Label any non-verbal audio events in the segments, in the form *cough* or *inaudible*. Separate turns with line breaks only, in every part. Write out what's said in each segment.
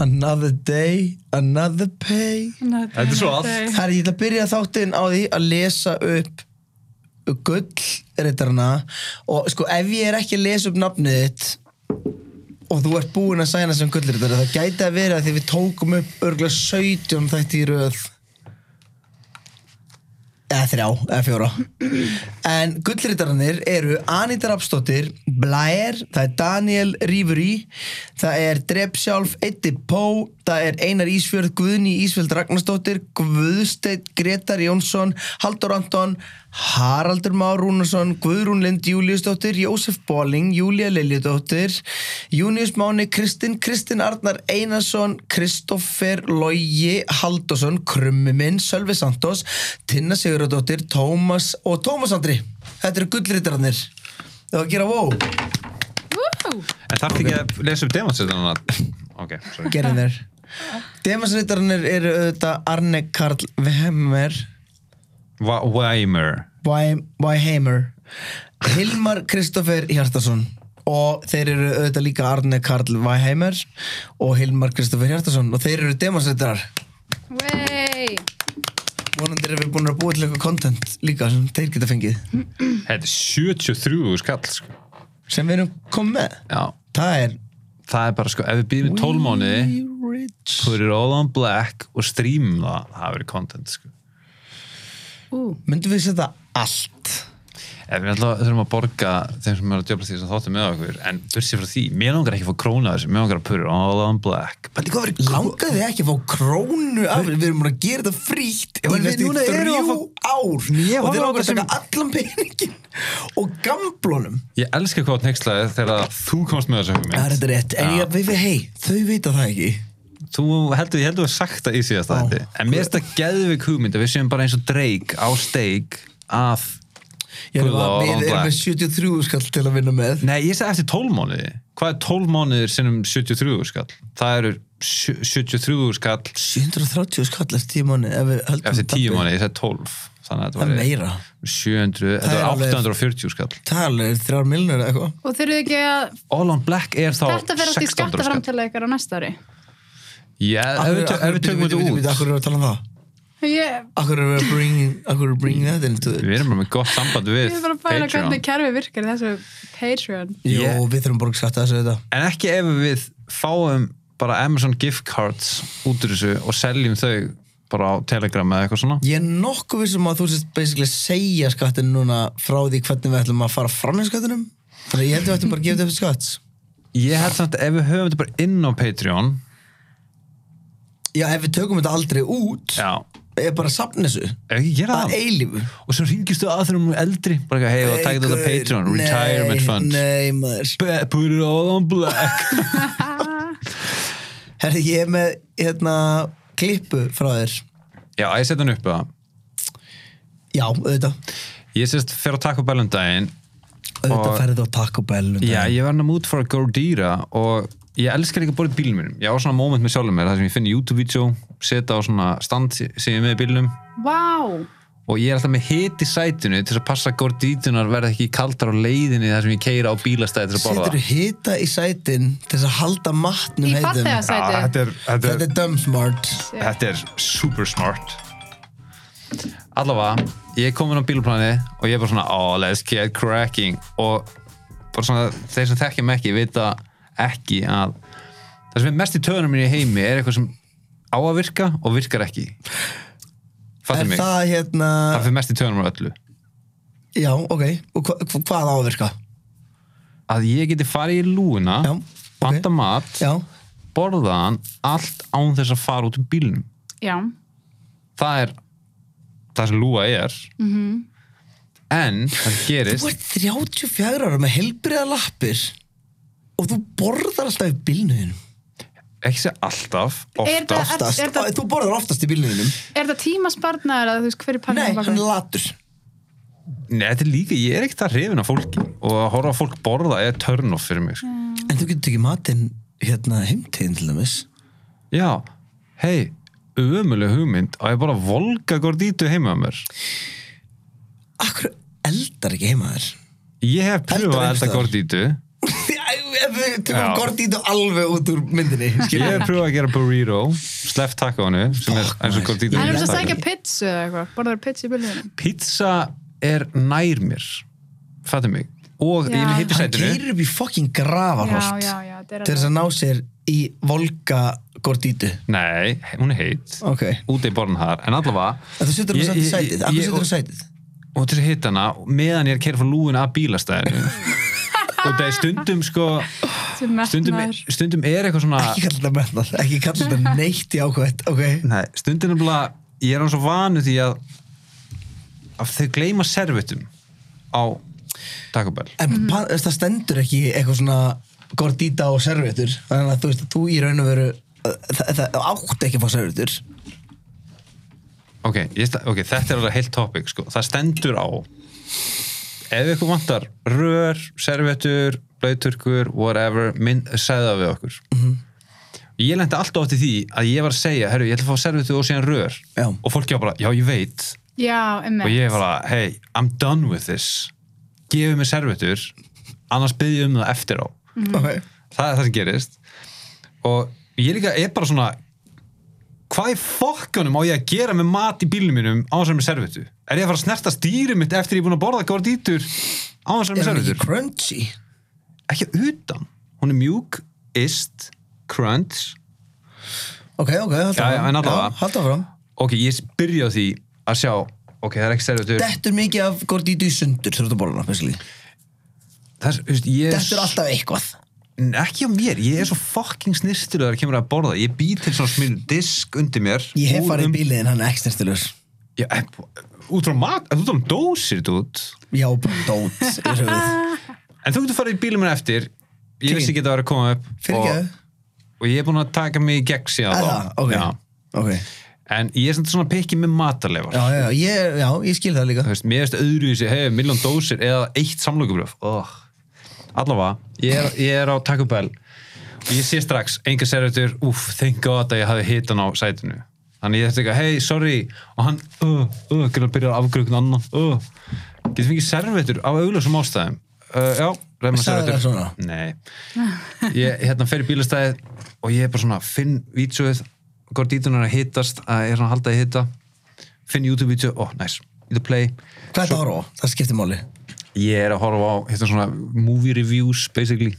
Another day, another pay
Þetta er svo allt.
Herri, ég ætla að byrja þáttinn á því að lesa upp gull og sko ef ég er ekki að lesa upp nafnið þitt og þú ert búinn að sæna sem gullritari þá gæti að vera því við tókum upp örgulega 17 þætti í röð eða þrjá, eða fjóra en gullritararnir eru Anita Rapsdóttir, Blair það er Daniel Rífuri það er Dreb sjálf, Eddi Pó það er Einar Ísfjörð, Guðni Ísfjöld Ragnarsdóttir, Guðsteinn Gretar Jónsson, Haldur Anton Haraldur Már Rúnarsson Guðrún Lind Júliusdóttir, Jósef Bóling Júlia Liljudóttir Június Máni, Kristinn, Kristinn Arnar Einarsson, Kristoffer Logi Haldursson, Krummi minn Sölvi Santos, Tinna Sigurðardóttir Tómas og Tómas Andri Þetta eru gullritararnir Það var að gera wow,
En þarf ekki að lesa upp demonstrétan að... Ok, sorry.
gerin þér Demasritararnir eru auðvitað Arne Karl Vemmer
Wa- Weimer.
Weihammer Hilmar Kristoffer Hjartarsson og þeir eru auðvitað líka Arne Karl Weihammer og Hilmar Kristoffer Hjartarsson og þeir eru demonstrættarar
Wey.
vonandi erum við búin að búa til eitthvað content líka sem þeir geta fengið
Þetta er 73 skall, sko.
sem við erum komið með
Já.
það er
Það er bara, sko, ef við býðum í 12 mánuði,
We Rich
put it all on black og streamum það, það verður content, sko.
Ú,
myndum við setja allt
Ef við alltaf þurfum að borga þeim sem er að djöfla því sem þáttum með okkur, en börsið frá því, mér langar ekki að fá krónu að þessu, mér langar að put it all on black.
Pæti, hvað verið langaði ekki að fá krónu af Við erum búin að gera þetta frítt í
en við
næstu
núna
þrjú
erum að
ár
Ég
og
horfði
þeir
á
langar að
þetta
taka allan peningin og gamblónum
Ég elska hvað neykslaði þegar þú komst með þessu
Það er
hugmynd.
þetta rétt, en ég við við hei, þau vita það ekki
Þú heldur, ég heldur að sagt það í síðasta
Ó.
þetta. En mér finnst það geðvik hugmynd að við séum bara eins og dreik á steik að...
Ég er
Pull
bara-
all
Við
on
erum
black.
með 73 skall til að vinna með
Nei, ég segi eftir 12 mánuði. Hvað er 12 mánuðir sinnum 73 skall? Það eru sjö- 73 skall
730 skall eftir 10 mánu
eftir 10 mánuði, ég segi 12.
Það
Þannig að
er
þetta var
meira, Það
700, þetta
er
var
alveg-
840 skall.
það er alveg 3 milnur eða eitthvað
Og þurfið ekki að
All on Black er þá
þetta fer átt í
1600 skall.
skattaframtala ykkar á næsta ári?
Já, ef við tö- ef við tökum þetta út.
Akkur erum við að tala um það?
Ég,
Akkur erum við að bring, akkur erum við að bring that into
Við
it?
erum bara með gott samband við
ég er bara að bæla
Patreon.
hvernig kerfi virkar í þessu Patreon.
Jó,
Ég-
við þurfum borg skatta þessu þetta
En ekki ef við fáum bara Amazon gift cards út úr þessu og seljum þau bara á Telegram eða eitthvað svona.
Ég er nokkuð vissum að þú sést basically segja skattin núna frá því hvernig við ætlum að fara fram með skattinum Þannig að ég held við ættum bara að gefa þetta upp skatts
Ég held samt að ef við höfum þetta bara inn á Patreon,
Já, ef við tökum þetta aldrei út
já,
er bara að sapna þessu
ef ekki gera
Það
það.
er eilífu
Og svo ringistu að þegar hún er eldri, bara eitthvað, hei, það tekið þetta á Patreon,
Nei,
retirement fund.
Nei, maður
Be- Put it all on black.
Herri, ég er með hérna klippu frá þér
*laughs* já, ég setja hann upp að það.
Já, auðvitað
Ég sérst fyrir að taka upp bælundaginn
Auðvitað
Og-
ferði þú á Taco Bell um
um Já,
daginn.
ég var hann að mút fara að góða dýra og ég elskar ekki að borða í bílum mínum. Ég á svona moment með sjálfum mér, það sem ég finn YouTube-vídeó, setja á svona stand sem ég er með í bílnum
Vá!
og ég er alltaf með hit í sætinu til þess að passa að góða dýtunar verða ekki kaldar á leiðinni þar sem ég keira á bílastæði til að borða.
Setur hita í sætin til þess að halda matnum
Í
heitum
farþega sæti.
er, þetta
Þetta er dumb smart
þetta er super smart. Allavega, ég er komin á bílplani og ég er bara svona, oh, let's get cracking og bara svona, þeir sem þekkja mig ekki vita ekki að það sem er mest í töðunum minni í heimi er eitthvað sem á að virka og virkar ekki fattum
Er
mig, það,
það hérna
það fyrir mest í töðunum á öllu
Já, ok Og hva, hva, hvað á að virka?
að ég geti farið í lúuna
Já,
panta mat,
Já
borða hann allt án þess að fara út um bílnum
Já.
það er það sem lúa er -hmm.
Mhm.
en það sem gerist
Þú ert 34 ára með helbriða lappir og þú borðar alltaf í bílnuðinum
ekki segja alltaf,
Er það-
oftast
oftast,
er það-
þú borðar oftast í bílnuðinum
Er þetta tímaspartnaður að þú veist
Nei,
hverju pakkaði
hann er latur
Nei, þetta er líka, ég er ekkert að hrifin af fólki og að horfa á fólk borða er turn off fyrir mig
Mm.
sko.
En þú getur ekki matinn hérna heimtegin til dæmis
já, hei ömuleg hugmynd að ég bara volga gordítu heima á mér
Akkur eldar ekki heima þér
ég hef
Eldar *laughs*
pröfað að
einhvers
elda
staðar.
gordítu
Ef alveg, tökum
Já.
Gordito alveg út úr myndinni
Ég
skilurðu?
hef pröfað að gera burrito Sleff tacoinu sem er eins og gordita
En er það
beef
að
taco.
sækja pizza eða eitthvað? Borðar pizza í byrjunum?
Pizza er nær mér Fattu mig Og ég
Já.
er með
Hann
hippisætinu
keirir upp í fucking
Já,
gravarholt
já, já, þetta er
til þess að ná sér í volga Gordito
Nei, hún er heit
ok,
Úti í borðin þar En allavega
En þú setur
Ég-
hann samt í
ég-
sætið af
ég-
hverju setur hann sætið?
og til að hitta hana meðan ég er að kæra frá lúin að bílastæðinu
*laughs*
og það er stundum sko
Þetta er
stundum,
metnaður.
stundum er eitthvað svona
ekki kalla þetta metnað, ekki kalla þetta neitt í ákvæmt ok,
Nei, stundum er bara ég er án svo vanu því að að þau gleyma servetum á Taco Bell
en
Mhm.
pa- það stendur ekki eitthvað svona Gordita og servetur þannig að þú veist að þú í raun og veru eh, það, það átt ekki að fá servetur
ok, ég, sta- ok, þetta er alveg heilt topic sko. það stendur á ef ykkur vantar rör, servetur, blauturkur whatever, mynd, segðu það við okkur ég lendi alltaf átti því að ég var að segja, herru, ég ætla að fá servetur og síðan rör
Já.
og fólk hjá bara, já ég veit
Já, emmi.
og ég var að, hey, I'm done with this gefið mér servetur annars byggjum um það eftir á
Mhm.
ok,
það er það sem gerist og ég líka er bara svona hvað í fokkunum á ég að gera með mat í bílnum mínum á þessar með servitu er ég að fara að snerta stýri mitt eftir ég er búin að borða gordítur á þessar með
er hann ekki
servitur
crunchy?
ekki utan, hún er mjúk ist, crunch
ok, ok, halda
Já, já, en allavega.
halda fram
ok, ég byrja á því að sjá ok, það er ekki servitur
dettur mikið af Gordito í sundur þurftu bóluna, basically
það er, þú veist, ég
dettur alltaf eitthvað
N- ekki á mér, ég er svo fucking snirtilegur að kemur að borða, ég bý til svona smilu disk undir mér
ég hef
Úr
farið
um-
í bíliðin, hann er ekki snertilur
Já, eh, út frá mat, þú tóðum dósir út
já, bara dót
*laughs*
yfir höfuð.
en þú getur farið í bílum mér eftir
Fín.
ég vissi ekki að það var að koma upp
fyrirgeðu,
og, og ég er búin að taka mig í gegn síðan
eða,
þá.
ok
Já.
ok,
en ég er samt svona pikki með matarleifar
já, já, já, ég, já, ég skil það líka
þú veist, mér veist öðru í sig, hei, miljón dósir eða eitt samlokubröf oh. allavega, ég er, ég er á Taco Bell og ég sé strax, enga servetur úf, thank god að ég hafi hitan á sætinu þannig ég þetta eitthvað, hei, sorry og hann, uh, uh, gæla að byrja að afgjöra einhvern annan, uh, getur fengið servetur á augljósum ástæðum uh, já, reyna
Sagði það
servetur
svona?
nei, ég hérna fer í bílastæði og ég er bara svona finn vítsuð, hvort dítunar er að hittast að ég er svona að halda að hitta finn YouTube-vítsu, ó, oh, nice, hit the play
hvað er það að horfa á? það skiptir máli
Ég er að horfa á hérna svona movie reviews basically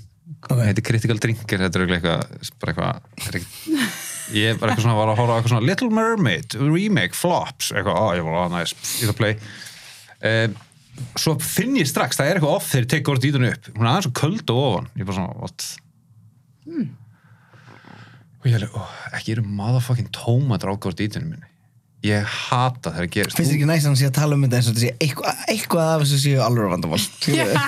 Ok.
Þetta er critical drinker, þetta er örugglega eitthvað, bara eitthvað þetta er ekki- Ég er bara eitthvað svona var að horfa á eitthvað svona Little Mermaid, remake, flops eitthvað, á, ég var að næs, ég það play um, Svo finn ég strax það er eitthvað off þegar ég tek orðið ítunni upp hún er aðeins og köld og ofan ég er bara svona, what og ég er alveg, ó, ekki eru motherfucking tómatur á orðið ítunni minni ég hata þegar það gerist
finnst þér ekki næst að hann sé að tala um þetta eins og þetta sé eitthvað, eitthvað af þessu séu alveg vandamál Skilurðu?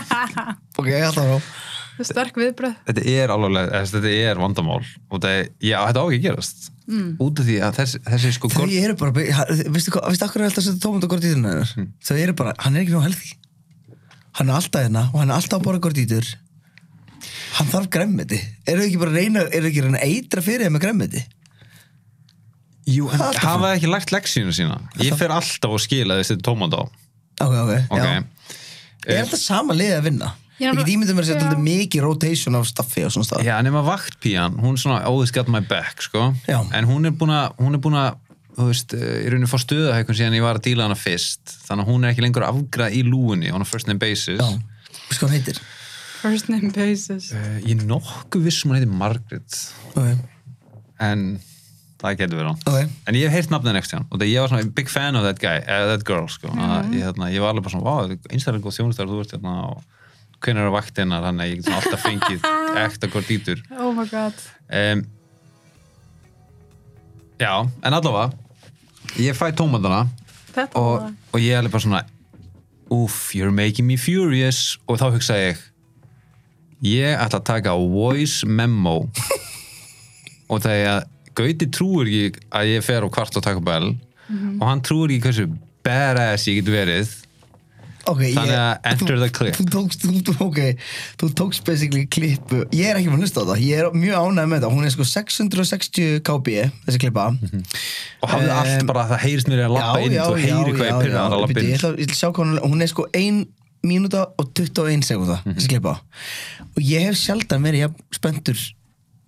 ok, alltaf rá
Það er sterk viðbröð.
þetta er alveg, þetta er vandamál og það, já, þetta á ekki að gerast mm. út af því að þessi, þessi sko
þau
gor-
eru bara, veistu hvað, veistu akkur er alltaf að setja tómund og gordíturinn hennar hérna,
Hmm.
þau eru bara, hann er ekki nóg helði hann er alltaf hérna og hann er alltaf að bora gordítur hann þarf gremmiti eru þau ekki bara að reyna, eru þau ekki að reyna að eitra fyrir þeim með gremmiti
jú, en
Alltaf.
hafa ekki lært leksínu sína ég fer alltaf og skila þessi tómand á
ok, ok,
ok,
já er alltaf sama liðið að vinna
Já,
ekki dýmyndum er að
já.
setja alltaf mikið rotation af staffi og svona stað
já, nema vaktpían, hún er svona always got my back, sko,
Já.
en hún er búin að hún er búin að, þú veist, eh, í rauninni fór stöðahækun síðan ég var að díla hana fyrst þannig að hún er ekki lengur afgrað í lúinni hún er first name basis
já, veistu hvað hann heitir
First name basis.
Eh, ég er nokkuð vissum hún heiti Margaret
ok,
en það getur verið hann
ok,
En ég hef heyrt nafnið next hann og það ég var svona big fan of that guy, uh, that girl sko. mm. ég, hérna, ég var alveg bara svona, wow, einstaklega góð þjónustar þú ert hérna og hvernig eru vaktinnar þannig að ég get svona alltaf fengið ekta gordítur
Oh my god.
um, Já, en allavega ég fæ tómatana
Þetta var
og,
það.
og ég er alveg bara svona Oof, you're making me furious og þá hugsaði ég ég ætla að taka voice memo
*laughs*
og það er að Gauti trúir ekki að ég fer á kvart og taka bell
Mhm.
og hann trúir ekki hversu badass ég get verið
ok ég-
þannig að enter the clip
þú tókst, þú, þú- ok, þú tókst basically klippu, ég er ekki búin að hlusta á það ég er mjög ánægð með þetta, hún er sko 660 kb, þessi klippa
Mhm. og hafði allt
Em,
bara að það heyrist mér að lappa inn og heyri hvað ég pyrra að
bíddu,
lappa
ég
inn
ætla, ég ætla að sjá hvað hún, hún er sko ein mínúta og 21 sekúnda
Mhm.
þessi klippa og ég hef sjaldan verið jafn spenntur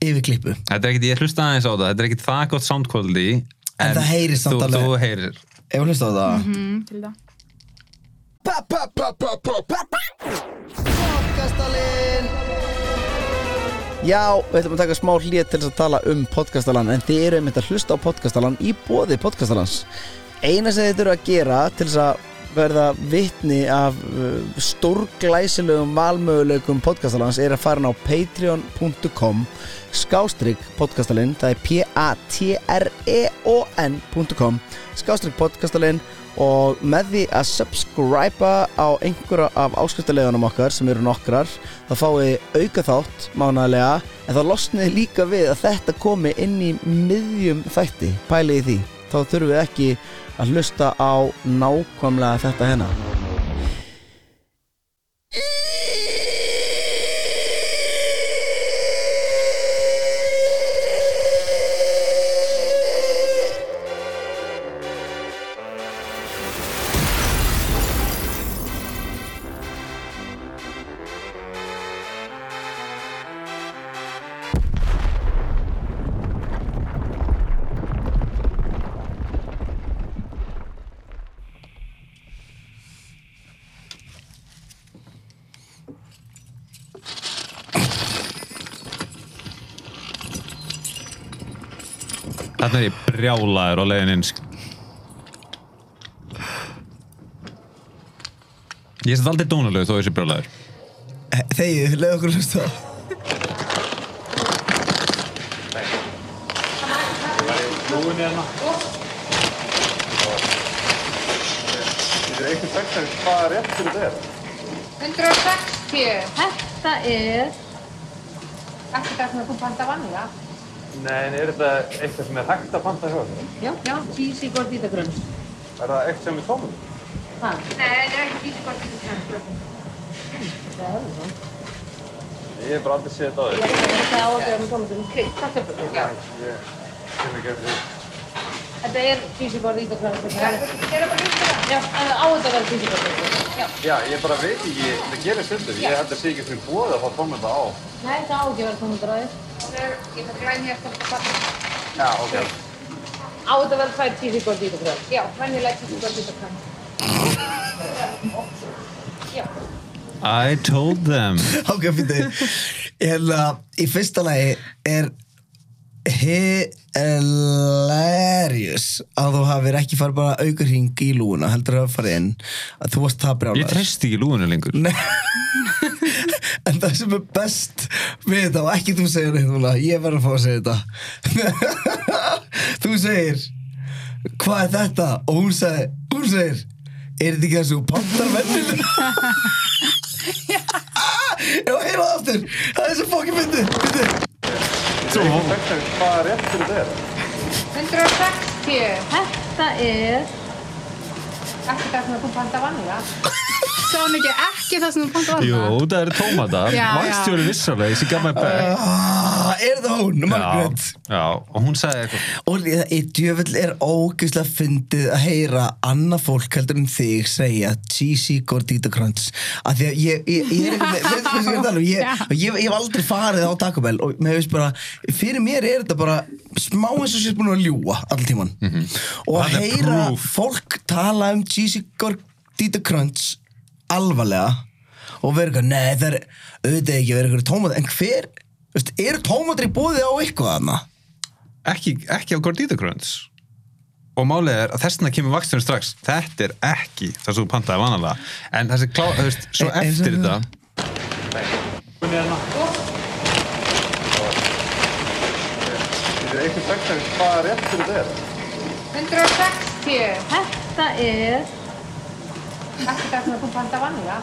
yfir klippu
Þetta er ekkit, ég hlusta aðeins á það, þetta er ekkit það gott sound quality En,
það heyrist samt
þú,
alveg.
Þú heyrir
ef hún hlusta á það
Mm, til það.
Podcastalinn Já, við ætlum að taka smá hlýð til þess að tala um podcastalann en þið eru einmitt að hlusta á podcastalann í bóði podcastalans Eina sem þið þurfa að gera til þess að verða vitni af uh, stórglæsilegum valmöguleikum podcastalans er að fara inn á patreon.com skástrygg podcastalinn það er E p-a-t-r-e-o-n.com skástrygg podcastalinn og með því að subscriba á einhverja af áskriftarleganum okkar sem eru nokkrar þá fáið auka þátt mánaglega en þá losnið líka við að þetta komi inn í miðjum þætti pælið í því þá þurfum við ekki að hlusta á nákvæmlega þetta hérna
Þarna er ég brjálaður á leiðininn Ég er satt aldrei dónalegu þó ég sé brjálaður
Þegið, leið okkur að hlusta
Þetta er eitthvað sagt að hvað réttur þetta er.
160. Þetta er... Ekki það sem þú panta vanlega.
Nei, en er þetta eitthvað sem er hægt að panta hjá þér?
Já, já, cheesy gordita grönn.
Er það eitthvað sem er tómum?
Ha. Nei, það er ekki cheesy gordita grönn. Það er það.
Ég hef bara aldrei séð þetta á þér.
Þetta á að vera með tómatum krydd. Þetta er bara. Já.
Ég sem ekki eftir því.
Þetta er cheesy gordita grönn. Það er bara líka það. Já, það á þetta að vera cheesy gordita grönn. Já.
Já, ég bara veit ekki, það gerir stundum. Ég held að sé ekki fyrir bóð að fá tómum þetta á.
Nei, það á ekki að vera tómatræðið. Það er, ég það græn hér að fatta.
Já, ok.
Á þetta að vera tvær cheesy gordita grönn. Já, venjulega cheesy gordita grönn. Já.
I told them
Ok, fyrir Hérna, í fyrsta lagi er hilarious að þú hafir ekki farið bara aukur hring í lúuna heldur að hafa farið inn að þú varst það brjálæður
Ég treysti ekki lúinu lengur
Nei. en það sem er best við þetta og ekki þú segir þetta núna ég verður að fá að segja þetta *laughs* þú segir hvað er þetta og hún segir, hún segir er þetta ekki þessu pantar *laughs* vennil já, heyra það aftur það er svo fokkin myndi
Þetta er eitthvað sagt að hvað réttur þetta er.
160. Þetta er ekki það sem þú panta vanlega.
Sá hann ekki ekki það sem þú panta vanna?
Jú, það eru tómatar
Já, já.
Vangstjóri vissalega, ég sé gaf mig back
ah, er það hún, Margaret
Já, já, og hún sagði eitthvað
og líða í djöfull er ógeðslega fyndið að heyra annað fólk heldur en þig segja cheesy gordita crunch af því að ég, ég, ég er einhvern veginn veistu hvað sem ég er að tala um? ég, og ég, ég hef aldrei farið á Taco Bell og mér hefist bara, fyrir mér er þetta bara smá eins og sér búin að ljúa all tíman og að
Það Mhm. er
heyra
proof.
fólk tala um cheesy gordita crunch alvarlega og vera eitthvað, nei það er auðvitað ekki vera eitthvað tómat, en hver veist, er tómatri búið á eitthvað annað?
ekki, ekki á Gordita Crunch og málið er að þessna kemur vaksturinn strax þetta er ekki það sem þú pantaði vanalega en þessi klá, þú veist, svo
E- eins og
eftir
það.
þetta
Þetta er eitthvað sagt að hvað réttur þetta er.
160. Þetta er ekki það sem þú panta vanlega.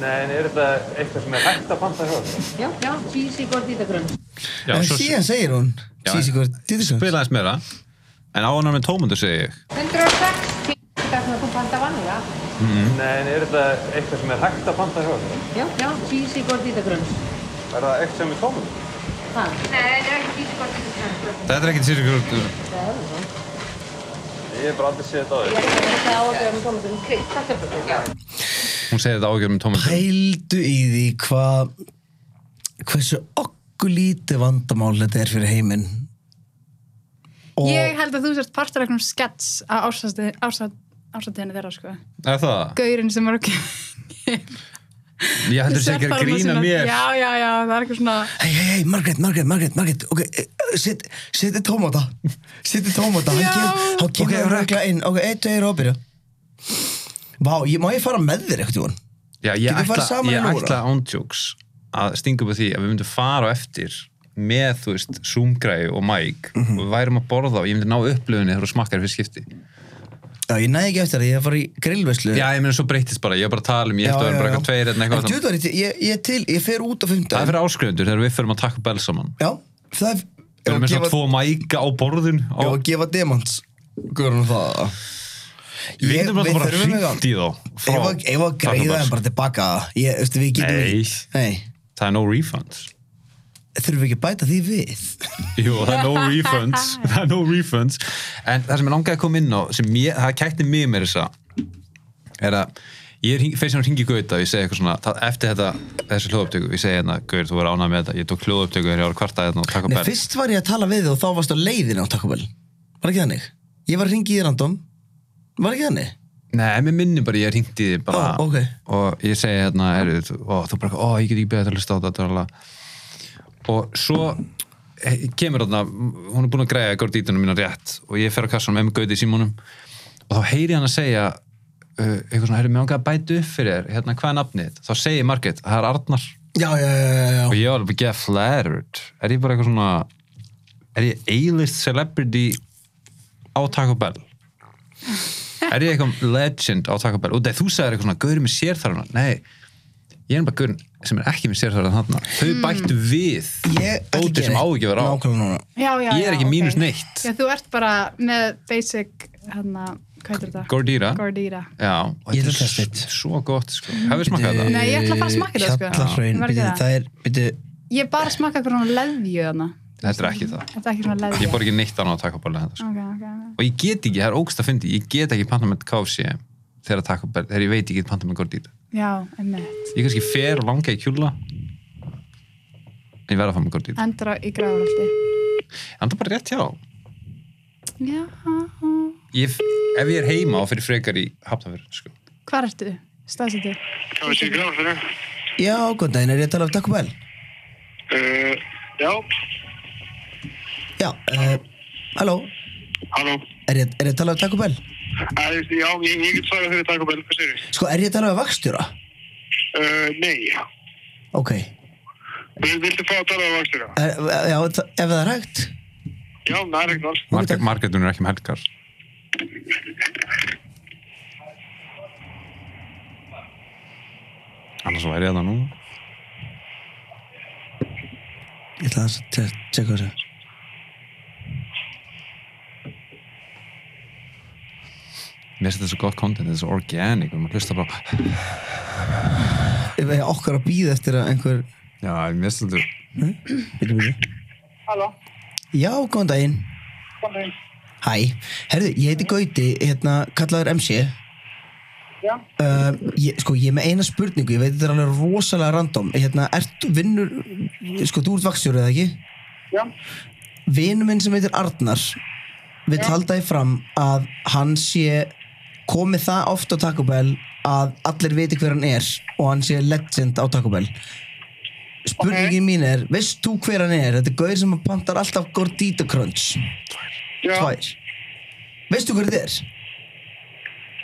Nei, en er þetta eitthvað sem er hægt að panta hjá þér?
Já, já, cheesy gordita grunn.
já,
en
svo
síðan segir hún
Já,
Sísi
en-
hvort Dýðisons
spilaðist meira en áhannar með tómundu segi ég
160. Ekki það sem þú panta vanlega.
Nei, en er þetta eitthvað sem er hægt að panta hjá þér?
Já, já, cheesy gordita grunn.
Er það eitthvað sem er tómum?
Ha. Nei, það er ekki cheesy gordita grunn.
þetta er ekki þessi grunn
Það er það.
Ég hef bara aldrei séð þetta á þér.
Þetta á að vera með tómatum krydd. Þetta er bara.
hún segir þetta um ágjörð með tómundum
Pældu í því hvað hversu okkur lítið vandamál þetta er fyrir heiminn og
Ég held að þú sért partur af einhvern skets á ársatíðinu þeirra, sko.
er það?
Gaurinn sem var ekki... *laughs*
ég heldur sér ekki að grína mér
Já, já, já, það er eitthvað svona...
hei, hei, hei, Margrét, Margrét, Margrét, Margrét ok, seti set *laughs* tómata seti tómata, hann
Já.
kemur hann kemur
Ok,
okay, rökla inn, ok, eitt, tveir og byrja Vá, ég, má ég fara með þér eitthvað tíma?
Já, ég
Getum við farið
ætla,
saman í
ég
Lóra?
ætla ándjóks að stinga upp á því að við myndum fara á eftir með, þú veist, Zoom-græði og mic
Mhm.
og við værum að borða og ég myndi ná upplöfunni þegar þú smakkar fyrir skipti
Já, ég næði ekki eftir það, ég er að fara í grillveslu
Já, ég meina svo breytist bara, ég var bara að tala um ég eftir að vera bara eitthvað tveir eða eitthvað
Tjóðar, ég, ég er til, ég fer út á fimmta
Það er fyrir áskrifundur þegar við förum að taka bell saman
Já, það er
Við erum með
gefa-
svona tvo mæka á borðun
Já,
og
að gefa demans Guðrún um það
við getum bara bara
þurfum eitthvað-
hringt í þá frá
Ef að- ef að
Taco
greiða
Bells.
þeim bara tilbaka það. ég, veistu, við getum
Nei.
ekki- Nei,
Það er no refunds
þurfum við ekki að bæta því við
Jú, það er no refunds Það er no refunds En það sem ég langaði að koma inn á sem ég, það kætti mig mér þess að er að ég er hring- fyrst sem hringi Gauta og ég segi eitthvað svona, það, eftir þetta þessi hljóðupptöku, ég segi hérna, Gaur, þú verður ánægð með þetta ég tók hljóðupptöku þegar ég var að kvarta hérna og taka
Nei,
bell
fyrst var ég að tala við þig og þá varst á leiðinu á Taco Bell Var ekki þannig? Ég var að ringi í random Var ekki þannig?
Nei, mér minni bara, ég hringdi þið bara
Ó, ókei.
og ég segi hérna, er, ó, þú bara, ó, ég get ekki beðið til að hlusta á þetta drala. og svo eh, kemur þarna, hún er búin að greiða górdítunum mína rétt og ég fer á kassanum með mig gauti í símónum og þá heyri ég hann að segja uh, eitthvað svona, heyrðu, mér ánga að bæta upp fyrir þér hérna, hvað er nafnið? þitt?" Þá segir Margrét, það er Arnar
Já, já, já, já,
og
já.
ég var alveg að geða flattered er ég bara eitthvað svona er ég A-list celebrity á Taco Bell er ég eitthvað legend á Taco Bell og þegar þú sagðir eitthvað svona, gaurið með sérþarfuna nei, ég er bara gaurið sem er ekki með sérþarfuna þarna þau bættu við
Ég ætla að
dótið
gera
sem á ekki að vera á
Nákvæmlega núna
Já, já,
Ég er
já,
ekki
ok.
mínus neitt.
Já, þú ert bara með basic, hérna, hvað heitir þetta?
Gordýra
Gordýra.
já, og
Ég ætla að
þetta
testa
er
þetta.
s- svo gott sko. hefur smakað þetta?
Nei, ég ætla að fara að smakka þetta, sko.
Hjallarhraun,
Var ekki
byrju,
það?
það er, byrju
Ég bara smakka eitthvað svona leðju þarna.
þetta er ekki það
Þetta er ekki svona leðju.
ég bor ekki neitt annað á Taco Bell en þetta, sko.
Ok, ok.
og ég get ekki, það er ógst að fyndi ég get ekki panta með KFC þegar, Taco Bell, þegar ég veit ég get panta með Gordita
Já, einmitt.
ég kannski fer og langa í kjúla en ég verð að fá mig gort í þetta
Endra í gráðuröldi.
en það er bara rétt hjá
Já.
ég, ef ég er heima og fyrir frekar í hafnafjörn sko.
Hvar ertu? Staðsettu?
Það var sér gráð fyrir.
Já, góðan daginn, er ég að tala af Taco Bell?
Uh, já,
Já, uh, halló,
halló.
er ég, er ég að tala af Taco Bell?
Æ, þú veist, já, ég, ég get svarað fyrir Taco Bell, hvað sér þið?
Sko, er ég að tala af vakstjóra?
Uh, nei,
Ok,
Vil, viltu fá að tala á vakstur?
er, já, þa- ef það er hægt
Já, það er ekkert alls.
Ok, takk.
Margrét Margrét hún er ekki með helgar annars væri ég það nú
Ég ætla aðeins að te- tjekka þessu.
mér finnst þetta svo gott content, þetta er svo organic og maður hlusta bara
Ef ég okkar að býða eftir að einhver...
já, mér finnst þetta
Bíddu, bíddu.
Halló,
Já, góðan daginn.
kom heim.
Hæ. Herðu, ég heiti Gauti, hérna, kallaður MC.
Já.
Uh, ég, sko, ég er með eina spurningu, ég veit þetta er alveg rosalega random. Hérna, ert vinnur... Sko, þú ert vaksjóri eða ekki?
Já.
Vinur minn sem heitir Arnar vill halda því fram að hann sé komið það oft á Taco Bell að allir viti hver hann er og hann sé legend á Taco Bell spurningin mín er veist þú hver hann er? Þetta er gauður sem pantar alltaf Gordita Crunch
Já,
tvær veist þú hver þetta er?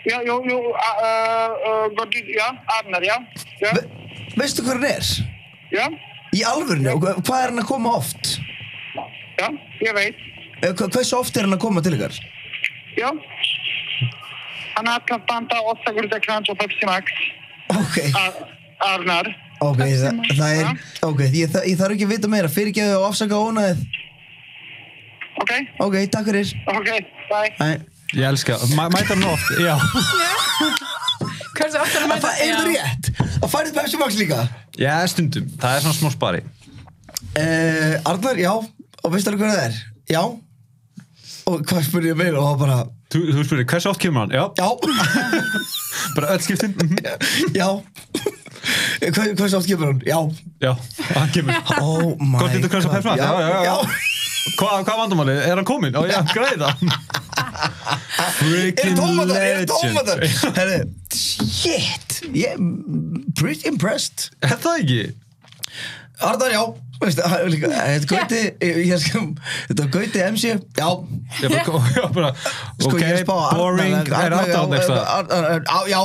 já, jú, jú, uh, uh, Gordí, já, Arnar, já, já,
Ve veistu hver hann er?
já,
í alvörinu, og hva- hvað er hann að koma oft?
já, ég veit,
Eh, hva- hversu oft er hann að koma til ykkar?
já. Hann har alltaf banta 8 gurta krans og Pepsi Max,
ok,
Ar, Arnar.
ok, þa það er ok, ég, þa ég þarf ekki að vita meira, fyrirgeðu og afsaka ónaðið
Ok,
ok, takk fyrir
ok, bye.
Æ.
ég elska, mæ, mæta hann oft já.
Hversu ofta er
En það er það rétt að færið Pepsi Max líka
já, stundum, það er svona smá spari
uh, Arnar, já og veistu alveg hvað það er? Já og hvað spurði ég meira og það var bara
Þú, þú spyrir, hversu oft kemur hann? Já,
Já,
bara öll skiptin mhm.
*laughs* já Hva, Hversu oft kemur hann? Já
Já, hann kemur
Oh my
Hvort þetta hversu
god,
persóna?
Já, já, já
Hvað hva vandamálið? Er hann kominn? Ó, já, græða
Eru
Freaking
tómatar, eru *laughs* tómatar
legend
Herri, shit Ég er pretty impressed
Er það ekki?
Arnar, já Veist, hann er líka- Þetta gauti ég- ég skal- Þetta gauti MC Já,
Ég bara, já, bara
sko
Ok,
ég er að spá að Arnar-
boring, er
Arnar-
átt á
já,
next
Arnar- Arnar- Já, já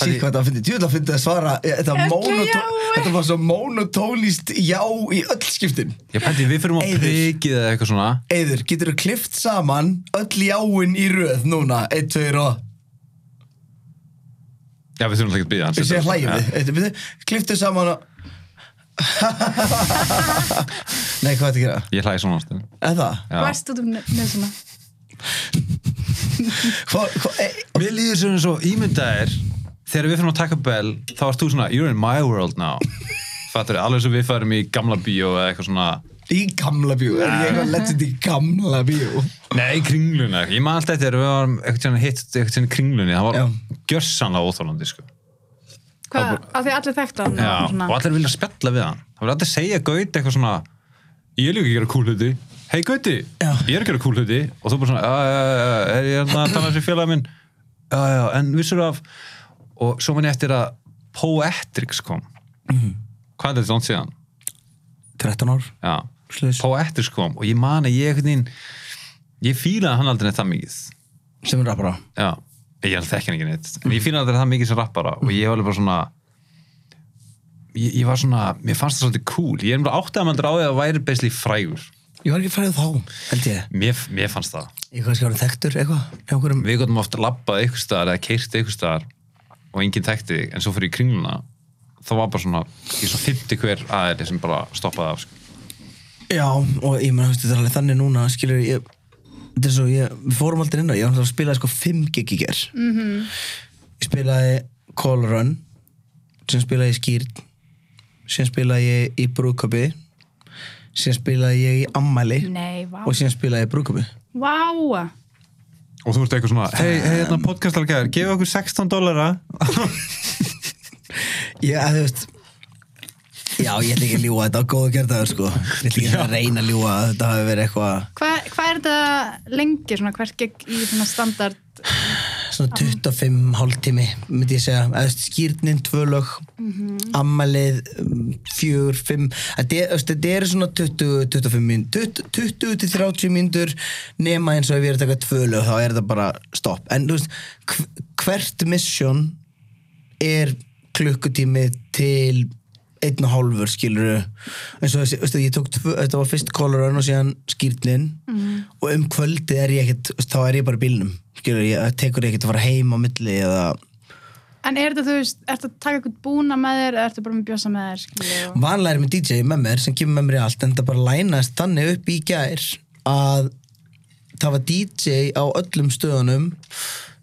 Sýk hvað það finnir, djúðlega finnir að svara Ég- Þetta,
Ekki
mónotó,
já. eh.
þetta var svo monotónist já í öll skiptin
Ég pæti, við fyrir að
Eiður.
prikið eða eitthvað svona
Eður, getur þú klift saman öll jáin í röð núna 1, 2 og
Já, við þurfum alltaf ekki að býða hans
Við séum hlægjum við. Eitt, við Kliftu saman
*laughs*
og Nei, hvað ertu að gera?
Ég hlæg svona ástæðin
Eða það?
Já.
Læst út um nöðsuna.
Hva, hva, e,
Mér líður sem eins og ímyndaðir Þegar við fyrir að taka bell Þá ert þú svona, you're in my world now Fattur, alveg sem við farum í gamla bíó Eða eitthvað svona
í gamla bíó Er ég eitthvað legend í gamla bíó?
Nei, kringluna. Ég man alltaf þegar við varum eitthvað tíðan hitt, eitthvað tíðan kringlunni, það var
Já.
gjörsanlega óþólandi, sko.
Hvað, af því allir þekktu hann.
Já,
og Hérna, svona.
og allir vilja spjalla við hann. Það var alltaf að segja Gauti eitthvað svona, ég er líka að gera cool hluti. Hei Gauti,
Já.
ég er að gera cool hluti. Og þú bara svona, já, já, já, já, er ég hérna að tala sér félagin minn? Já, já, en vissur af, og svo manni eftir að Poetrix kom. Hvað er þetta langt síðan?
13 ár
Já,
Slaus.
Poetrix kom og ég man að ég einhvern veginn, ég fílaði hann aldrei neitt það mikið.
sem er rappara
Já, ég held þekki hann ekki neitt en ég fíla að það er það mikið sem rappara og ég var alveg bara svona ég, ég var svona, mér fannst það svolítið cool ég er umlega áttið að maður dráði að það væri beisli frægur
Ég var ekki færið þá, held ég
mér, mér fannst það
Ég kannski árið þekktur eitthvað hjá einhverjum
við gotum oft labbað ykkur staðar eða keirt ykkur staðar og enginn tekti þig en svo fyrir í kringluna þá var bara svona, ég er svona 50 hver aðeiri sem bara stoppaði af sko.
Já, og ég meina, þú veist, þetta er alveg þannig núna skilur ég þetta er svo, ég, við fórum aldrei inn á ég var náttúrulega að spila sko 5 gig í ger -hmm. ég spilaði Call Run sem spilaði ég Skýrn sem spilaði ég í Brúköpi sem spilaði ég í Ammæli
Nei, vá.
og sem spilaði ég í Brúköpi
Vá.
og þú ert eitthvað svona, hei, hei, hérna podcastalgæður gefa okkur 16 dólara
ég, að þú veist já, ég ætla ekki að ljúga þetta á góðu gerðaður sko ég ætla ekki að reyna að ljúga að þetta hafi verið eitthvað
Hvað hva er þetta lengi, svona, hvert gegn í svona standard?
svona 25 hálftími myndi ég segja, eða skýrnin tvö lög, ammalið um, fjögur, fimm þetta er- þú veist, þetta eru svona 20-25 mínútur 20-30 mínútur nema eins og ef ég er að taka tvö lög þá er þetta bara stopp, en þú veist hv- hvert mission er klukkutími til einn og hálfur skilur eins og þessi, veistu, ég tók tvö, þetta var fyrst kólarun og síðan skýrnin og um kvöldið er ég ekkert veistu, þá er ég bara í bílnum skilur, ég það tekur ég ekkert að fara heim á milli eða
En er þetta, þú veist, ertu að taka eitthvað búna með þér eða ertu bara með bjósa með þér, skilju? og-
vanlega er með DJ með mér sem kemur með mér í allt en það bara lænast þannig upp í gær að það var DJ á öllum stöðunum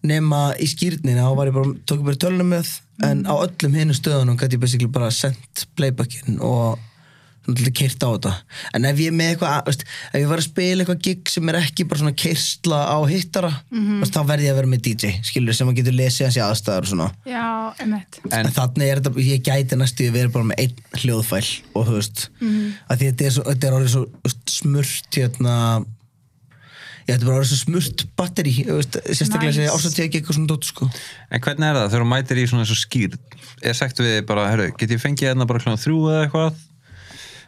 nema í skýrnina og var ég bara, tók ég bara tölunum með en á öllum hinu stöðunum gæti ég basically bara sendt playbackin og náttúrulega keirt á þetta en ef ég er með eitthvað, veist, ef ég var að spila eitthvað gig sem er ekki bara svona keirsla á hittara, veist, þá verði ég að vera með DJ skilur sem að getur lesið hans í aðstæður og svona
Já, einmitt.
en þannig er þetta, ég gæti næstu að vera bara með einn hljóðfæl og þú veist að því þetta er, svo, þetta er orðið svo þú veist, smurt hérna ég þetta er bara orðið svo smurt batteri þú veist, sérstaklega nice.
Nice.
ásætti ég ekki eitthvað svona dótt sko
En hvernig er það þegar þú mætir í svona eins og skýr er sagt við þig bara, herru, get ég fengið hérna bara kljóðan þrjú eða eitthvað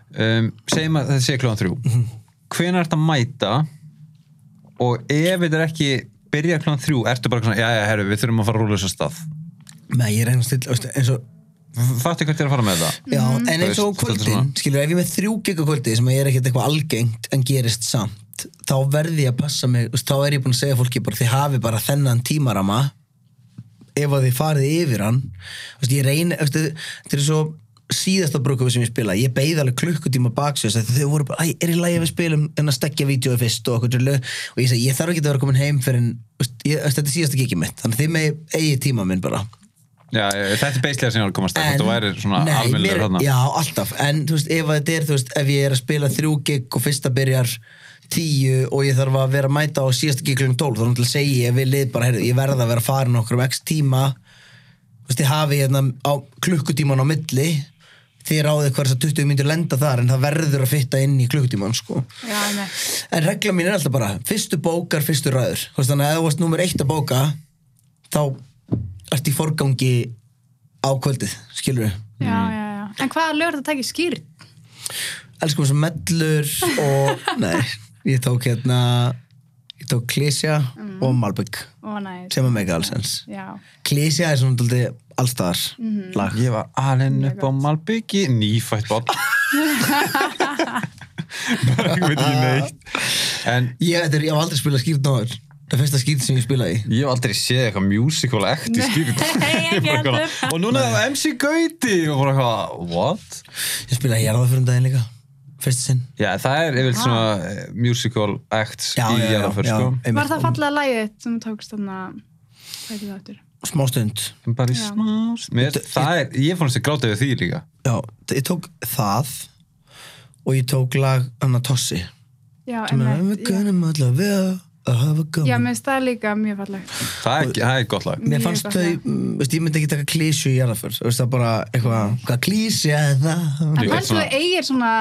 um, segjum að þetta sé kljóðan þrjú mm
Mhm.
-hmm. hvenær ert að mæta og ef þetta er ekki byrja kljóðan þrjú, ertu bara svona, já, já, herru við þurfum að fara að rúla þessu stað
með ég reyna still, veist, eins og
Fattu hvert ég er að fara með það?
já, en
Þú
eins og á
veist, þetta er
kvöldin
svona-
skilur, ef ég er með þrjú gig á kvöldi sem að ég er ekkert eitthvað algengt en gerist samt þá verði ég að passa mig, þú veist, þá er ég búin að segja fólki bara, þið hafi bara þennan tímarama ef að þið farið yfir hann þú veist, ég reyna þú veist, þetta er svo síðasta brúkufi sem ég spila ég beigði alveg klukkutíma baksins þau voru bara, æ, er í lagi að við spilum en að stekja vídjói fyrst og okkur drullu og ég segi, ég þarf ekki að vera komin heim fyrir en þetta er síðasta kikið mitt, þannig að þið megi eigi tíma minn bara
Já, já, þetta er beislega sem ég var að komast að þetta væri svona
nei,
almennilegur
mér-
þarna
Já, alltaf, en þú veist, ef að þetta er, þú veist, ef ég er að spila þrjú gig og fyrsta byrjar tíu og ég þarf að vera að mæta á síðasta gíklum 12 þá er hann til að segja ég við lið bara, heyrðu, ég verð að vera farin okkur um x tíma þú veist, ég hafi hérna á klukkutíman á milli þið ráðið hvað þessar 20 myndir lenda þar en það verður að fitta inn í klukkutíman sko.
Já, einmitt.
en regla mín er alltaf bara fyrstu bókar, fyrstu ræður Þú veist, þannig að ef þú varst nummer eitt að bóka þá ert í forgangi á kvöldið, skilur við
já, já, já. En hvaða lögur þetta tækir skýrt?
elskum þessum mellur og
*laughs*
nei, ég tók hérna ég tók Klísja
Mm.
og Malbygg
Ó, næs.
sem að mega alls ens
Já.
Klísja er svona daldið allstaðar
Mm.
lag
Ég var alinn upp á Malbyggi Nýfætt bótt Bara ég veit ekki neitt En
ég, þetta er, ég hef aldrei spilað skýrt náður það er fyrsta skýrt sem ég spilaði í
ég hef aldrei séð eitthvað musical ekti skýrt
Nei, *laughs* ekki
Bara eitthvað,
heldur.
Og núna er það MC Gauti og bara eitthvað, what?
ég spilaði jarðaförum daginn líka fyrsta sinn
Já, það er yfir
Ah.
svona eh, musical acts í jarðaför sko
einmitt.
Var það fallega lagið þitt sem þú tókst þarna hvað heitir það aftur?
smá stund
En bara í
Já.
smá Mér- Það er, ég fannst að gráta yfir því líka
já, t- ég tók það og ég tók lag Anna Tossi
Já,
sem er I'm
einmitt.
gonna motla við að hafa
Já, Já,
gaman
mér finnst það líka mjög fallegt.
Það er, það er gott lag
Mér
Mjög
fannst
gott
þau,
lag.
mm, veist, ég myndi ekki taka klísju í jarðaför Þú veist það bara eitthvað, hvað klísja er það?
En
Líka
pælstu
svona-
þú eigir svona,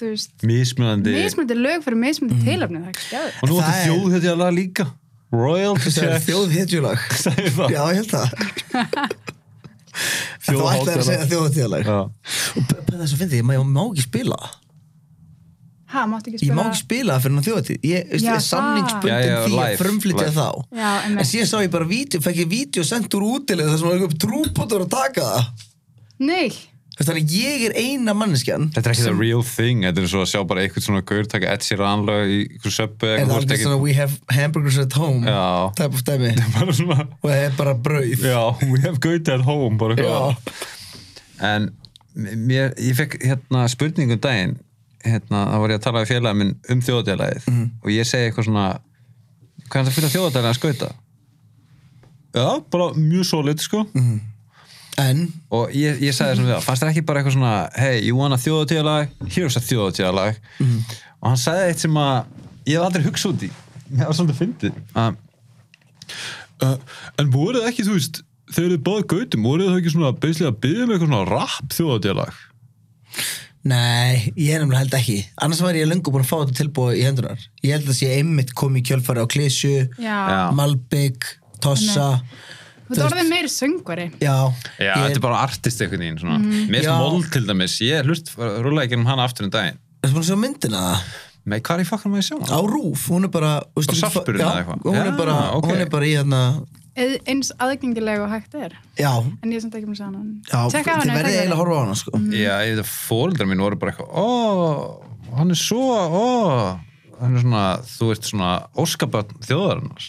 þú veist,
Mismunandi
mismöndi lög fyrir
Mm.
mismöndi tilöfni, það er ekki skjáður.
Og nú hérna
Það
áttu
er-
þjóðhættja lag líka Royal to
Það er
check
þjóð hetjulag
Sagði það.
Já, ég held það Þú ætlaði að segja þjóð hetjulag
Já.
Og p- p- það er svo fyndið, ég má- ég má ekki spila það.
Ha, máttu ekki
Ég
spila?
má ekki spila það fyrir hann þjóðatíð Ég veist,
Já,
ég er
það.
Já,
samningsbundin
já,
því að
live,
frumflytja
live.
þá
Já, einmitt.
En síðan sá ég bara vídeo, fekk ég vídeo sendt úr útilega þar sem var eitthvað trúbótur að taka það
Nei,
Þú veist, Þannig að ég er eina manneskjan
Þetta er ekki það real thing, þetta er svo að sjá bara eitthvað svona gaur taka Ed Sheeran lög í einhver söpbu
Er það alveg
*laughs*
svona we have hamburgers at home
Já.
Type of dæmi
bara svona
Og það er bara brauð
Já, we have Gauti at home bara
Já.
eitthvað En mér, ég fekk hérna spurningum daginn hérna, þá var ég að tala við félagin minn um þjóðadélagið og ég segi eitthvað svona hvað er það fyrir þjóðadélagið að skauta? Já, bara mjög solid sko
En
og ég, ég sagði svona við það, fannst það ekki bara eitthvað svona hey, you want a þjóðatíðalag, here's a þjóðatíðalag og hann sagði eitt sem að ég hef aldrei hugsað út í það var svolítið fyndið að, uh, en voruð þið ekki, þú veist þegar þið báðu gautum, voruð þið ekki svona beislega að byggja um eitthvað svona rap þjóðatíðalag
Nei, ég er nefnilega held ekki Annars var ég löngu búin að fá þetta tilbúið í hendunar Ég held að sé einmitt komið í kjölfari á Klysju
já.
Já.
Malbygg, Tossa
Þú ert orðið meiri söngvari.
Já, ég,
Já, þetta er bara artist einhvern veginn svona. Mm, Mér
Já.
er mól til dæmis, ég hlust rúlega ekki um hana aftur um daginn.
Ertu búin að sjá myndina það?
Með hvað er í fokkar maður að sjá hana?
Á Rúf, hún er bara veistu, þú
Bara
getur-
sarpurinn
Já,
eða eitthvað?
Hún er
Já,
bara,
ok.
hún er bara í hérna
Eð- Eins aðgengileg og hægt er.
Já,
En ég er samt ekki með að segja hann.
já þið
Tjekka á henni,
verðið
tjekka á
eiginlega að
henni.
horfa á hana sko.
Já, ég veit að fóreldrar mín voru bara eitthvað ó, hann er svo ó, hann er svona, þú ert svona óskapat þjóðarinnars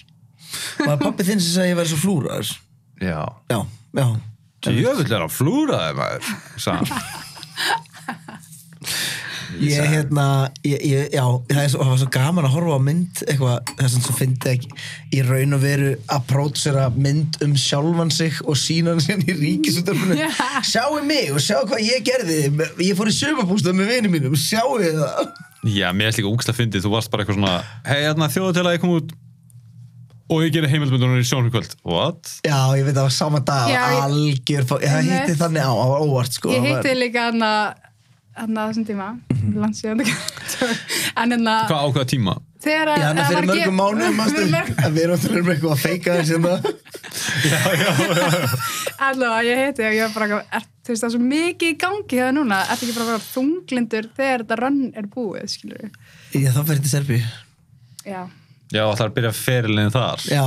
Var pappi þinn sem sagði að ég verið svo flúrar
Já,
Já, já
jöfull er hann flúraði maður sagði
*laughs*
hann.
Ég hérna, ég, ég, já, það, er svo, það var svo gaman að horfa á mynd eitthvað, það sem svo fyndi ekki í raun og veru að prótsera mynd um sjálfan sig og sína hann sér í ríkisutörfunu
Já.
sjáu mig og sjáu hvað ég gerði ég fór í sömabústað með vinum mínum sjáu það
Já, mér er líka úkslega fyndið, þú varst bara eitthvað svona hei, hérna þjóðatélagi kom út og ég gerir heimildmyndunum í sjónfjöld What?
já, ég veit að það var sama dag
Já, ég-
algjör, fá- það
Einmitt.
hitti þannig á, það var óvart sko
Ég
það Mhm. var-
hitti líka hann að hann að þessum tíma, landsíðan *laughs* en hann að
Hvað ákveða tíma?
þegar að
Já, hann
að
fyrir
var að
mörgum
gefa-
mánuðum manstu?
fyrir *laughs* mörg-
En við erum alltaf um eitthvað að feika þessi hérna.
allavega, ég hitti og ég var bara eitthvað, er, þú veist það er svo mikið í gangi þegar núna, ertu ekki bara að vera þunglindur þegar þetta rönn er búið, skilur við
Já, þá fyrir til Serbíu
já,
Já, það er að byrja ferilin þar
Já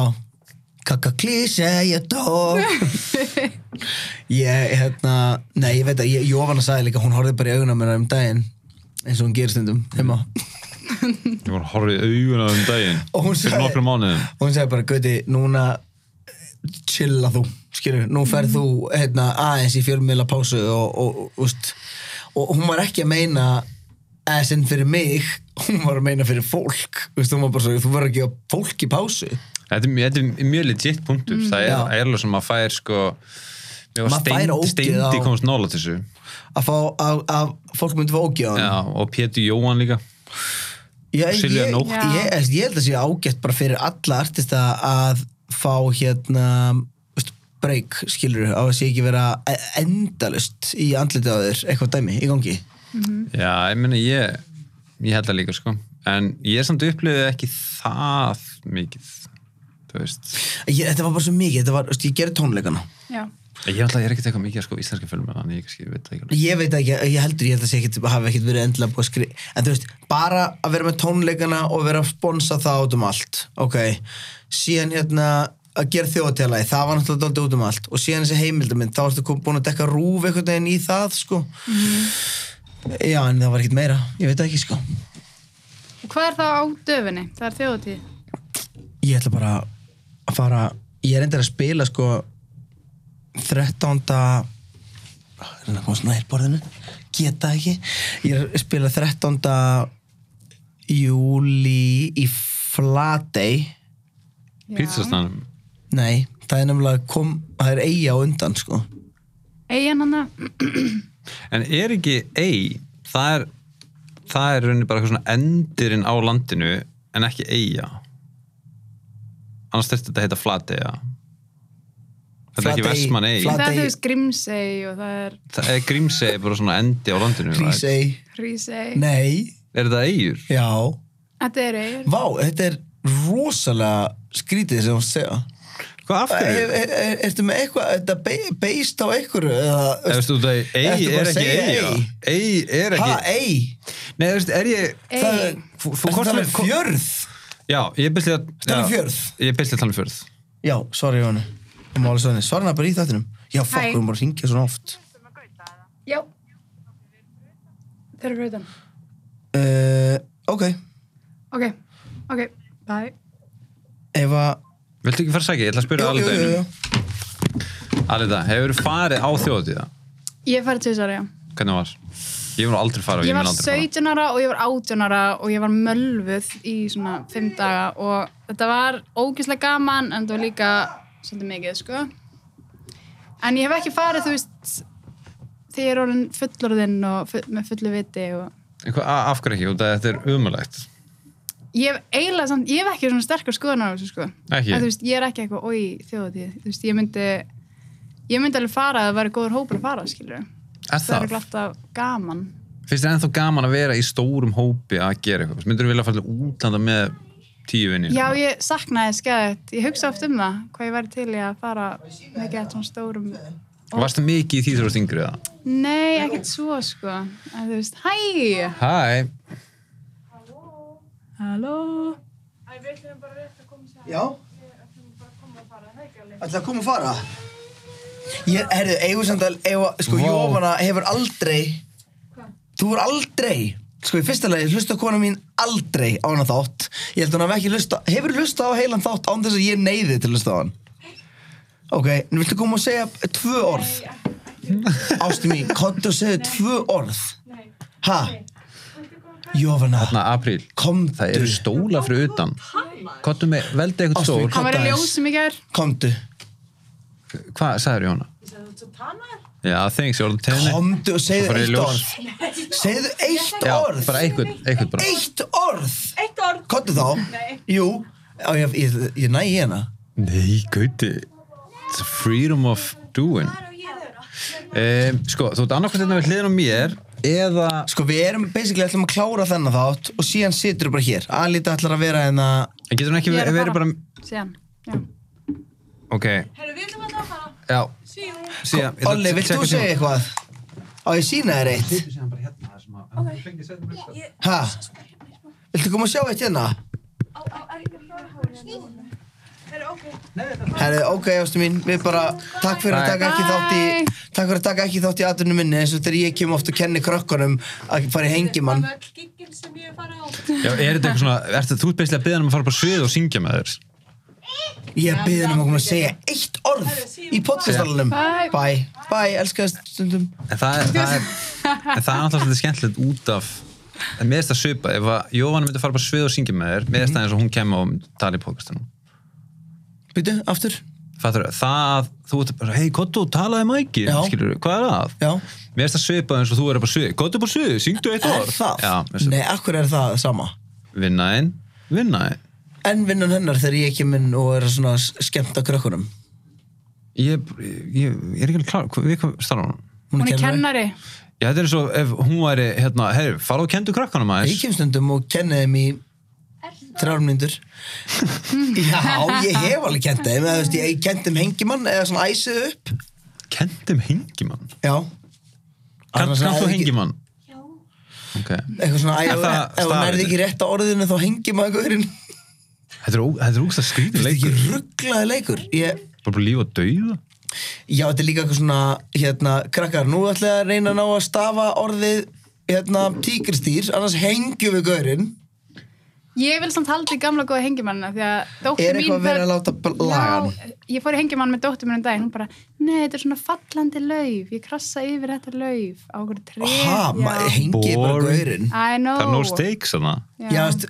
Kaka klíse, ég dó Ég, hérna Nei, ég veit að, ég, Jóvanna sagði líka Hún horfði bara í augun á mér um daginn eins og hún gerir stundum heima
Ég var að horfa í augun á um daginn
*laughs* Og hún
fyrir
sagði-
nokkrum mánuðum
og hún sagði bara, Gauti, núna eh, chilla þú, skilur nú ferð þú hérna, aðeins í fjölmiðla pásu og, og, úst, og hún var ekki að meina aðeins enn fyrir mig hún var að meina fyrir fólk Vist, hún var bara svo, þú verður ekki að gefa fólki pásu
Þetta er, þetta er mjög legit punktur það er,
Mm, Já.
er alveg sem maður fær sko mér var
Maður fær
steind,
ógeð
steindi
á-
komst nála til þessu
að, fá, að, að fólk myndi fá ógjáðan
Já, og Pétur Jóhann líka
ég,
Silja
ég,
Nótt.
ég, ég, ég held að sé ágætt bara fyrir alla artista að fá hérna veist, break skilur á að sé ekki vera e- endalaust í andliti á þér eitthvað dæmi í gangi
Já, ég meina ég ég held það líka sko en ég samt upplifið ekki það mikið þú veist
ég, þetta var bara svo mikið, þetta var, veist, ég gerði tónleikana
já,
ég, ætla, ég er ekkert eitthvað mikið sko íslenska fjölmenn þannig ég kannski veit það ekki alveg.
ég veit ekki, ég heldur ég held að sé ekkit hafi ekkit verið endilega búið að skri en þú veist, bara að vera með tónleikana og vera að sponsa það út um allt ok, síðan hérna að gera þjóðatélagi, það var náttúrulega dálítið út um allt og síðan þessi heimildamind, þá ertu kom- búin að dekka rúf einhvern veginn í það sko já, en það var ekkit meira ég veit það ekki sko
og hvað er það á döfinni? það er þjóðatíð
ég ætla bara að fara ég er endur að spila sko 13. Ég reyna að koma svona nær borðinu geta ekki ég er að spila 13. júli í Flatey
pítsastanum
nei, það er nefnilega kom, það er eiga á undan sko
eigin hann
en er ekki ei það er það er rauninni bara eitthvað svona endirinn á landinu en ekki eiga annars þurfti þetta að heita flateiga þetta er ekki
Flatey-
vestmann ei
Flat-
það
Flatey-
er þú veist Grímsey og það er
það er grímsei bara svona endi á landinu right?
Hrísey,
Hrísey
nei,
er þetta eigur?
já
þetta er eigin
vá, þetta er rosalega skrítið sem hún segja
hvað af
Er,
hverju?
er, er, ertu með eitthvað, er þetta be- based á einhverju eða,
Þú veist, út af- Ei
Ertu bara
er
að
ekki
segja
ei
ei?
Ei er
ha,
ekki
ei
Nei, þú veist, er ég
Ei.
Það er-
Þú- þú
Ertu
hvort
að tala um
við- hvort-
fjörð
Já, ég byrst að
Tala um
já,
fjörð.
Ég byrst að tala um fjörð
Já, sorry Jóni Máli Svenni, svarna bara í þáttinum Já, fokk,
Hæ.
við erum bara að ringja svona oft
já þeir eru fröðan
uh, Ok,
ok, ok, bye
ef að
Viltu ekki fara að segja, ég ætla að spyrja
Jú, jú, jú,
alveg
jú.
Alveg, hefur farið á þjóðatíða?
ég farið til þess ára, já
Hvernig var? Ég var aldrei farið
ég var
mun aldrei fara.
17 ára og ég var 18 ára og ég var mölvuð í svona 5 daga og þetta var ógeðslega gaman en þetta var líka svolítið mikið sko en ég hef ekki farið þú veist þegar ég er orðin fullorðinn og full, með fullu viti og
En hvað- a- Af hverju ekki, út af þetta er umulegt
ég hef eiginlega samt, ég hef ekki svona sterkur skoðunar á þessu sko
Ekki?
en, þú veist, ég er ekki eitthvað, oi, þjóðatíð þú veist, ég myndi ég myndi alveg fara að það væri góður hópur að fara skilur
Er
það
það?
er glatt af gaman
Finnst þér ennþá gaman að vera í stórum hópi að gera eitthvað? Myndur þú vilja fara til útlanda með tíu vinni?
Já, ég saknaði skæðið. Ég hugsa oft um það, hvað ég væri til í að fara mikið að svona stórum...
Varstu mikið í því þú varst yngri það?
Nei, ekkert svo, sko. En þú veist, hæ!
Hæ,
Halló!
Já Ætla að koma og fara Ég, herðu, eigum samt að eiga, sko,
Vá.
Jófana hefur aldrei Þú voru aldrei Sko, í fyrsta lagi, hlusta kona mín aldrei á hana þátt Ég held hún hafi ekki hlusta Hefur hlusta á heilan þátt án þess að ég neyði til að hlusta á hann Ok, nú viltu koma og segja tvö orð Ástu mín, komdu og segja tvö orð Ha? Jófana,
þarna apríl
komdu
Það eru stóla fyrir utan Kottu með, veldi eitthvað
Ástrík.
stól
Kom-
Hann var í
Dags.
ljósum í gær.
Komdu
Hvað sagður Jóna? Já, thanks, ég var að tegna
Komdu og segðu
Svo fara ég í
eitt
ljós.
orð Segðu eitt
Já,
orð
bara einhvern, einhvern bara
Eitt orð
Eitt orð.
Komdu þá Nei Jú á, ég, ég, ég næ í hérna. hana
Nei, gauti It's freedom of doing um, Sko, þú ert annarkvæmt þetta við hliðin á mér Eða
Sko við erum basically ætlum að klára þennan þátt Og síðan situr bara hér Alita ætlar að vera hérna
En Getur hún ekki
Ég er að
verið
fara.
bara
Síðan. Já.
Ok,
Herru, við erum alltaf að fara.
já
See you.
Síðan, ég ætla að
Olli, vilt
checka
þú segja
símann.
eitthvað? Á ég sína þér eitt
Síðan bara hérna, það sem að- þú fengir setja mig eitthvað.
Ha? Viltu koma og sjá eitt hérna? Herri, ok, ástu mín, við bara, takk fyrir að
Bye.
taka ekki þátt í, takk fyrir að taka ekki þátt í aðrunum minni eins og þegar ég kem ofta að kenni krökkunum að fara í hengimann.
Það var öll giggin sem ég hef farið á.
Já, er þetta eitthvað svona ertu, Þú ert beislega að byggja hann um að fara bara svið og syngja með þér
Ég byrði um að koma að segja eitt orð í podcastalunum.
Bye.
Bye, bye, elskaðast stundum.
En það er, það er, en það er alltaf svolítið skemmtilegt út af en mér erst að svipa, ef að Jóhanna myndi fara bara svið og syngja með þér, mér erst það eins og hún kemur og tala í podcastunum.
Býtu, aftur,
Fattur, það að þú ert bara, hei, gott og talaði mæki,
Já.
skilur, hvað er það?
já.
Mér erst að svipa eins og þú er bara svið, gott og bara svið, syngdu eitt
Er
orð.
það?
Já, mér erst að-
Nei, akkur er það sama?
vinna einn, vinna einn
En vinnan hennar þegar ég kem inn og er svona s- skemmt að krökkunum
ég, ég, ég er ekki alveg klár Hva- við hvað starfum hún?
Hún er kennari.
Já, þetta er eins og ef hún væri hérna, herri, fara og kendu krakkanum
Ég
aðeins
kem stundum og kenni þeim í þrjármyndur Já, ég hef alveg kent þeim eða, þú veist, Ég kent þeim hengimann eða svona æsið upp
kendum hengimann
Já
kann,
Annars
kann
hefði
þú
ekki-
hengimann? Okay.
Eitthvað svona,
Er
ef
það
ef þú nærði
staðurinn?
ekki rétt á orðinu þá hengi maður gaurinn Þetta
Þetta er ó- þetta er úrst að skrýta
er
*laughs* leikur
ekki rugglaði leikur ég,
bara bara líf og dauða
Já, þetta er líka eitthvað svona hérna, krakkar, nú ætla ég að reyna að ná að stafa orðið hérna, tíkristýr, annars hengjum við gaurinn
Ég vil samt halda í gamla góða hengjumannina því að dóttir
Er
mín
eitthvað
fer-
verið að láta b- laga hann?
Já, ég fór í hengjumann með dóttir minn um daginn, hún bara, nei, þetta er svona fallandi lauf, ég krassa yfir þetta lauf á okkur tré.
Ha, maður hengi bara
Boring.
gaurinn
I know.
það er no stakes þarna
Já, veist,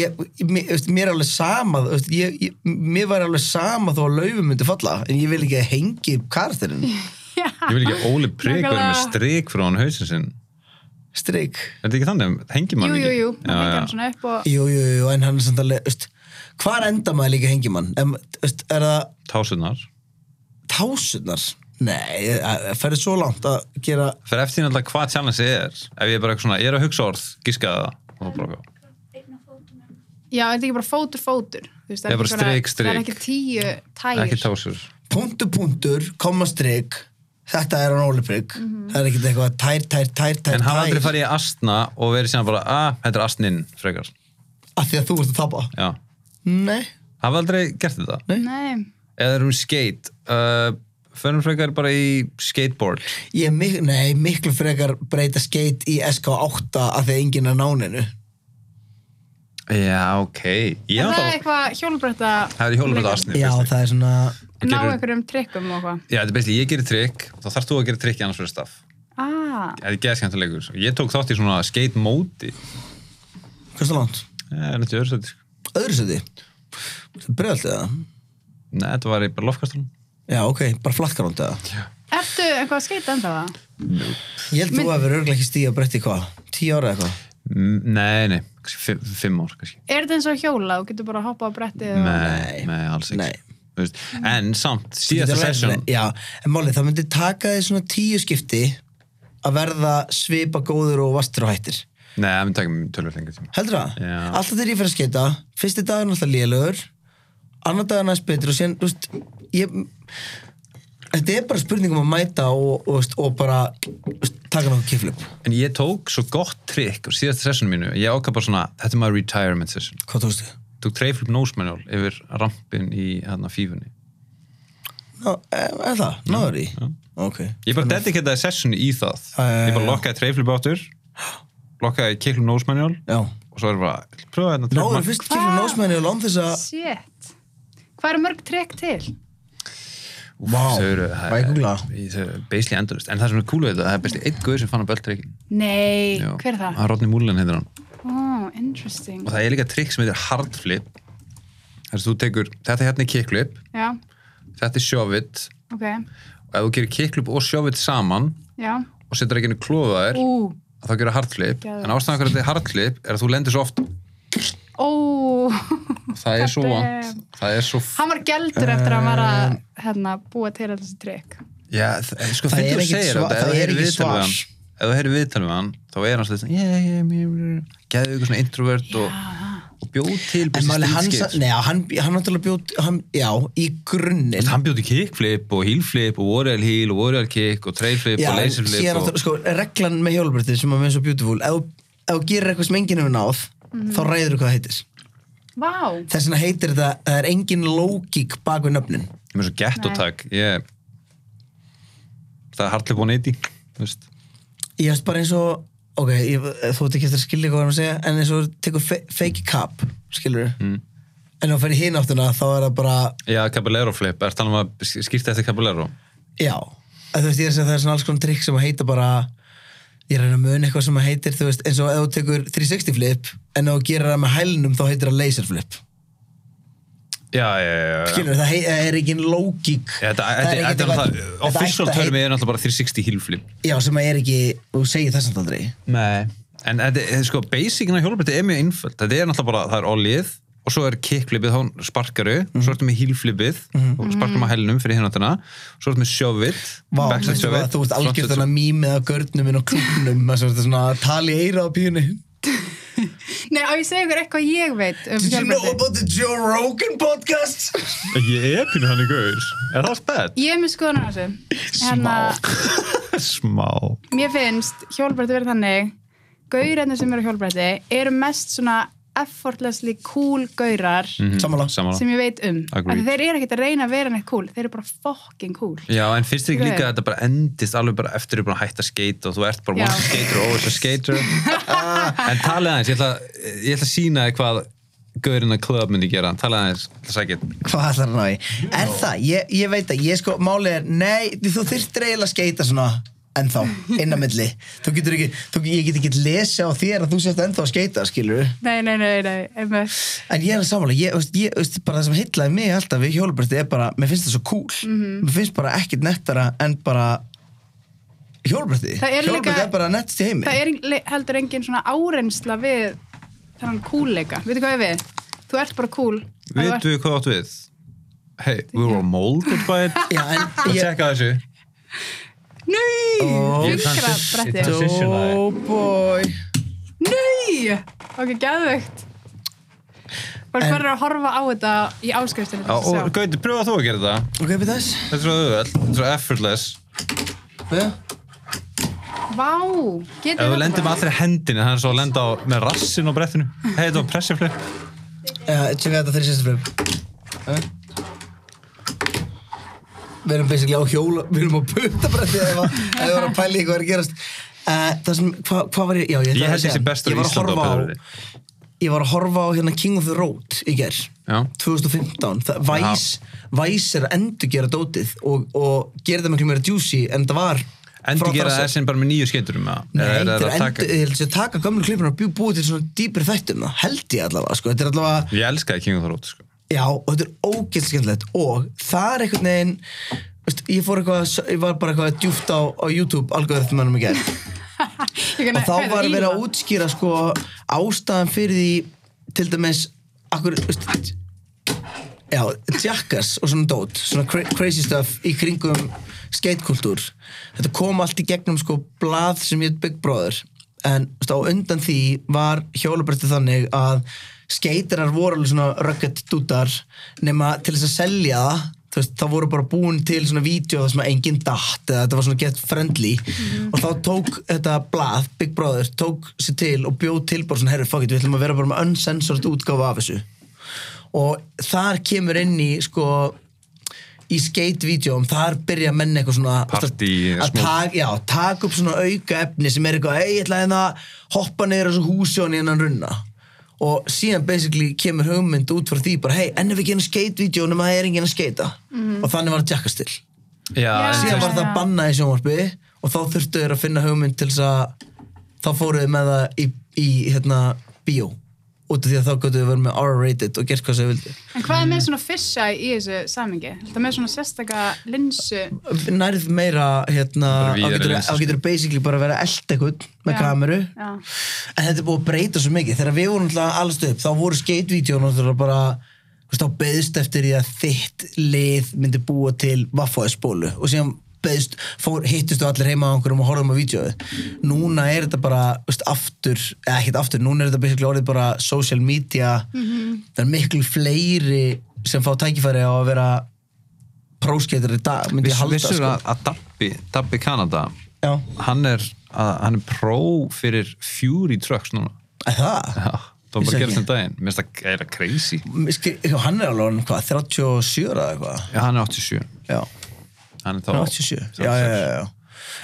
ég, ég, mér- veist, mér er alveg sama þú veist, ég, ég, mér var alveg sama þó að laufum myndi falla en ég vil ekki að hengi upp karakterinn
ég vil ekki að Óli Prygg verið með
Nákvæmlega.
strik frá hann hausin sinn er
strik
þetta ekki þannig, hengimann
Jú,
ekki
jú, jú,
Já,
maður hengi
já.
hann svona upp og...
jú, jú, jú, en hann er samt alveg veist, hvar enda maður líka um hengjumann en, veist, er það
tásunar
tásunar nei, það ferði svo langt að gera
fyrir eftir náttúrulega hvað challenge er ef ég er bara eitthvað svona, ég er að hugsa orð, giska það og þá bara,
Já, er þetta ekki bara fótur, fótur? Þú Veist, það
Já,
er
bara
ekki einhverja-
strik, strik.
Það er ekki tíu tægir.
ekki tásur
punktur, punktur, komma strik þetta er hann óliprik mm það er ekkert eitthvað tær, tær, tær, tær,
en hafa aldrei
tær
farið í astna og verið síðan bara, að, þetta er astnin frekar,
af því að þú ert að tapa
já
nei,
hafa aldrei gert þetta
Nei,
eða erum skate uh, förum frekar bara í skateboard
ég mik nei, miklu frekar breyta skeit í SK8 af því að enginn er náninu
já, ok ég
er það
náttúrulega-
eitthvað hjólbretta...
það er í hólum þetta astni
já, það er svona
Ná
Gerðu-
einhverjum trikkum og hvað.
Já, þetta er basically, ég gerir trikk og þá þarfst þú að gera trikk í annars fyrir staff.
Ah,
Þetta er geðskjöntilegur. Ég tók þátt í svona skate móti.
hversu langt?
Það er nættið öðru sæti. sko.
öðru seti breyðalt eða?
Nei, þetta var í bara lofkastunum.
já, ok, bara flattkarónd eða
ertu eitthvað að skeita enda það?
ég held þú að vera örglega ekki stíð að breytta í hvað? 10 ára eða eitthvað?
Mm, Nei, nei, kannski fimm, fimm ár kannski.
Er þetta eins og hjóla? Þú getur bara að hoppa á brettið og...
Nei, nei, alls ekki.
Nei.
Þú Veist, en samt,
Þetta
síðasta
er alveg-
session
já, en málið, það myndi taka því svona 10 skipti að verða svipa góður og vastur og hættir
Nei, það myndi taka mér tölvöld lengur tíma.
heldur það?
Já.
alltaf þegar ég fer að skeita fyrsti dagur alltaf lélögur annar dagur næst betur og sen þú veist, ég þetta er bara spurning um að mæta og, og, veist, og bara þú veist, taka náttúrulega kiflum
En ég tók svo gott trikk á síðasta sessionu mínu. Ég ákvað bara svona, þetta er maður retirement session.
hvað tókstu?
Tók treiflup nósmenjál yfir rampin í hérna, fífunni.
Ná, er, er það? Náður í? ok
Ég bara dediketaði sessionu í það.
Já, já, já,
Ég bara
já.
lokkaði treiflup áttur, lokkaði kiklum nósmenjál
já
og svo er bara, ég ætla að pröfa hérna
náður
treiflup.
fyrst kiflum násmenni og lán þess að
Shit. Hvað eru mörg trikk til?
Vá,
Þau eru,
bara ég googla
í- þau eru basically endurist. En það sem er cool við þetta, það er basically einn guður sem fann að böltrykkin.
Nei, hver er það?
Hann Rodney Mullen heitir hann.
Oh, interesting.
Og það er líka trikk sem heitir hard flip. Þess að þú tekur, þetta hérna er kickflip,
Já,
þetta er shove it.
ok.
Og ef þú gerir kickflip og shove it saman
Já.
og setur ekki henni klofaðir,
Ú,
þá gerir hard flip.
Geðvegt.
En ástæðan hvernig þetta er hard flip er að þú lendir svo oft.
ó. *laughs*
Það er svo
God
vant. Það er svo... F...
Hann var gældur eftir að hann var að hérna, búa til alltaf þessi trikk.
Já, það, sko,
Það er
fyrir þú
ekkit
segir
sva-
þetta, ef
það
þú
er
heyrir
ekki
viðtal við
svar.
hann, ef þú heyrir viðtal við hann, þá er hann svolítið, yeah, yeah, yeah, yeah, geðu ykkur svona introvert og, og bjóð til
en
þessi
máli hann
street
sa-
skates.
nei, já, hann hann náttúrulega bjóð hann- já, í
Þú veist,
grunninn
hann bjóði kickflip og heelflip og warrior heel og warrior kick og trailflip
Já,
og
en
laserflip
síðan
og...
aftur, sko, reglan með hjólbreytið sem að mér er svo beautiful ef þú- ef þú gerir eitthvað sem enginn hefur náð þá ræður þú hvað það heitir
Vá.
þess vegna heitir þetta, það er engin lógík bak við nöfnin
ég með svo gett og
Nei.
takk ég það er hardlip og neyti þú veist
ég veist bara eins og ok, ég, þú ert ekki eftir að skilja hvað hann að segja en eins og þú tekur fe fake cup skilur mm. en þú fyrir hinn áttuna þá er það bara,
já, caballero flip er talað um að sk- skipta eftir caballero
já að þú veist, ég er að segja það er svona alls konar trikk sem að heita bara ég reyna að muna eitthvað sem að heitir þú veist, eins og ef þú tekur 360 flip en ef þú gerir það með hælnum þá heitir það laser flip
já, já, já, já.
skilur, það hei- það er engin lógík
Já, þetta
Það
þetta-
er ekkert
þetta er náttúrulega
eitthvað-
official
þetta ætti að
törmi er náttúrulega bara 360 heelflip
heit- já, sem að er ekki, þú segir þess að aldrei
nei En þetta, er- sko, basicin á hjólabretti er mjög einföld. Þetta er náttúrulega bara, það er ollið og svo er kickflipið, þá sparkaru,
Mhm.
svo ertu með heelflipið, og sparkarum á helnum fyrir hináttina, svo ertu með sjóvitt,
Vá,
backside
veistu hvað,
sjóvitt.
þú veist algjörð þannig mýmið á görnum inn á klúknum Það er svona að tala í eira á píunni
Nei, á ég segja ykkur eitthvað ég veit um
Did you know
fjölbreytni.
about the Joe Rogan podcast?
Ég er pínu hann í gaur. Er það spett?
Ég er með skoðan á þessu. Hérna,
Smá.
mér finnst hjólbretti verið þannig gaurarnir sem eru á hjólbretti eru mest svona effortlessly cool gaurar
Mhm,
Samanlá
Samanlega.
sem ég veit um
Agreed.
Af því þeir eru ekkert að reyna að vera neitt cool þeir eru bara fucking cool
Já, en finnst þér ekki
Gauð.
líka að þetta bara endist alveg bara eftir að búin að hætta að skeita og þú ert bara
Já.
one skater og over
*laughs*
skater en talið aðeins, ég ætla, ég ætla að sína þér hvað gaurinn að klub myndi gera talið aðeins, það sækir
Hvað ætlar hann á því? Er það? Ég, ég veit að ég sko, málið er, nei, þú þurftir eiginlega að skeita svona ennþá, inn á milli. Þú getur ekki, þú, ég get ekki lesa á þér að þú sért ennþá að skeita, skilur
nei, nei, nei, nei, einmitt.
En ég er að samanlega, ég, veist, ég, veist, bara það sem heitlaði mig alltaf við hjólubresti er bara, mér finnst það svo cool.
Mhm.
Mér finnst bara ekkit nettara en bara hjólubresti.
Það er líka-
Hjólubresti er bara nettst í heimi.
það er le- heldur engin svona árensla við þannig coolleika, veitu hvað ég við þú ert bara cool Ef þú ert-
Vitu hvað áttu við? Hey, we were molded by
*laughs*
it
Já, en ég...
Tjekka þessu
Ó,
nei, fingra
transi-
bretti
ég transitionaði.
Oh boy.
nei, ok, geðvögt bara
En-
hver er að horfa á þetta í áskriftinu til
Já,
þess að
og
sjá.
Gauti, pröfa þú að gera þetta
Ok, byrja þess.
Þetta er svo auðvöld, þetta er svo effortless
Byrja.
Vá, getur
Ef
þetta
við lendum
bara?
allir hendinni, það er svo að lenda á, með rassin á brettinu Hey, þetta var pressiflip
Já, tjekka þetta þeirri sérstu flip Eh? Við erum basically á hjóla Við erum á puttabrætti ef að- ef við erum að pæla í hvað er að gerast uh, Það sem, hvað hva var ég? Já, ég, ætlaði
Ég
að
held
segja.
þessi bestur
Ég
í
var að
Íslanda á
horfa
Pöðurði
Ég var að horfa á hérna King of the Road í ger
Já.
2015 Það- Vice, Vice er að endurgera dótið og, og gera það miklu meira juicy en það var
Endi gera
frá-
þessin bara með nýju skeiturum
Nei, þetta er endur, ég held að sé taka gömlu klippin og bjú- búið til svona dýpir þættum það, held ég allavega, sko, þetta er allavega
Ég elskaði King of the Road sko.
Já, og þetta er ógæld skemmtilegt og það er einhvern veginn veist, ég fór eitthvað, að s- ég var bara eitthvað djúft á, á YouTube algoritmanum í gerð og
Ég gana-
þá
heyrðu,
var verið að
Ívar.
útskýra sko ástæðan fyrir því til dæmis akkur, veist, já, jackass og svona dót, svona cra crazy stuff í kringum skatekultúr þetta kom allt í gegnum sko blað sem hétt Big Brother en veist, á undan því var hjólabresti þannig að skaterar voru alveg svona rugged dútar nema til þess að selja það þú veist, þá voru bara búin til svona vídeo þar sem að enginn datt eða þetta var svona get friendly og þá tók þetta blað, Big Brother tók sér til og bjóð til bara svona herri fuck it, við ætlum að vera bara með uncensored útgáfa af þessu og þar kemur inn í sko í skate-vídeóum, þar byrja menn eitthvað svona
Partí,
að, að
smá-
taka, já, taka upp svona auka efni sem er eitthvað, ei, ég ætla hérna að hoppa neyður þessu húsi og nýjan runna og síðan basically kemur hugmynd út frá því bara, hei, enn ef við gerum skate-vídeó nema það er enginn að skeita og þannig var Jackass til
Ah, Já,
Já.
en þú
síðan
veist-
var það
já.
bannað í sjónvarpi og þá þurftu þeir að finna hugmynd til þess að þá fóruðu með það í, í hérna, bíó út af því að þá gætu við verið með R-rated og gert hvað sem við vildi
En hvað er með svona fissa í þessu samingi? Þetta með svona sérstaka linsu
nærð meira hérna,
Bara
á
víðari
getur, á
linsa, sko.
getur basically bara að vera eld eitthvað með
Já,
kameru
já.
en þetta er búið að breyta svo mikið þegar við vorum alltaf allast upp þá voru skatevídeón og það bara þú veist, þá beðst eftir því að þitt lið myndi búa til vaffaðspólu og síðan beðst, fór, hittustu allir heima á einhverjum og horfðum á vídeoðu núna er þetta bara þú veist, aftur, eða ekkert aftur, núna er þetta basically orðið bara social media það er miklu fleiri sem fá tækifæri á að vera próskeitur í dag myndi ég
Viss-
halda
Vissur
sko.
að, að Dabbi, Dabbi Kanada
Já,
hann er, að, hann er pró fyrir Fury Trucks núna
er það?
Já, það var
Vissi
bara að
ekki.
gera þetta daginn Mér finnst það eða crazy
Mér skil- já, Hann er alveg orðinn hvað, 37 eða eitthvað
Já, hann er 87
Já,
Hann er þá
hann er 87 já, já, já, já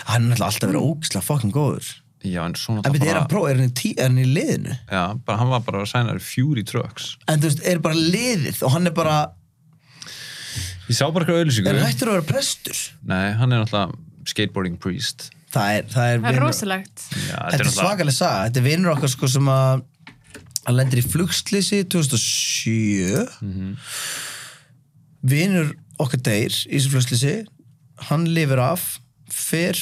Hann er náttúrulega alltaf verið ógislega fucking góður
Já, en svona
En
það
byrja, er hann próf, er hann í, tí, er hann í liðinu?
Já, bara, hann var bara að sæna Fury Trucks
En þú veist, er bara liðið og hann er bara
Ég sá bara eitthvað
Er
auðlýsingu
hann hættur að vera prestur?
Nei, hann er náttúrulega skateboarding priest
Það er, það er,
Það er
vinur-
rosalegt
Já,
Þetta er svakalega saga Þetta er vinnur okkar sko sem að hann lendir í flugslýsi 2007 vinnur okkar deyr í þessu flugslýsi hann lifir af fyrr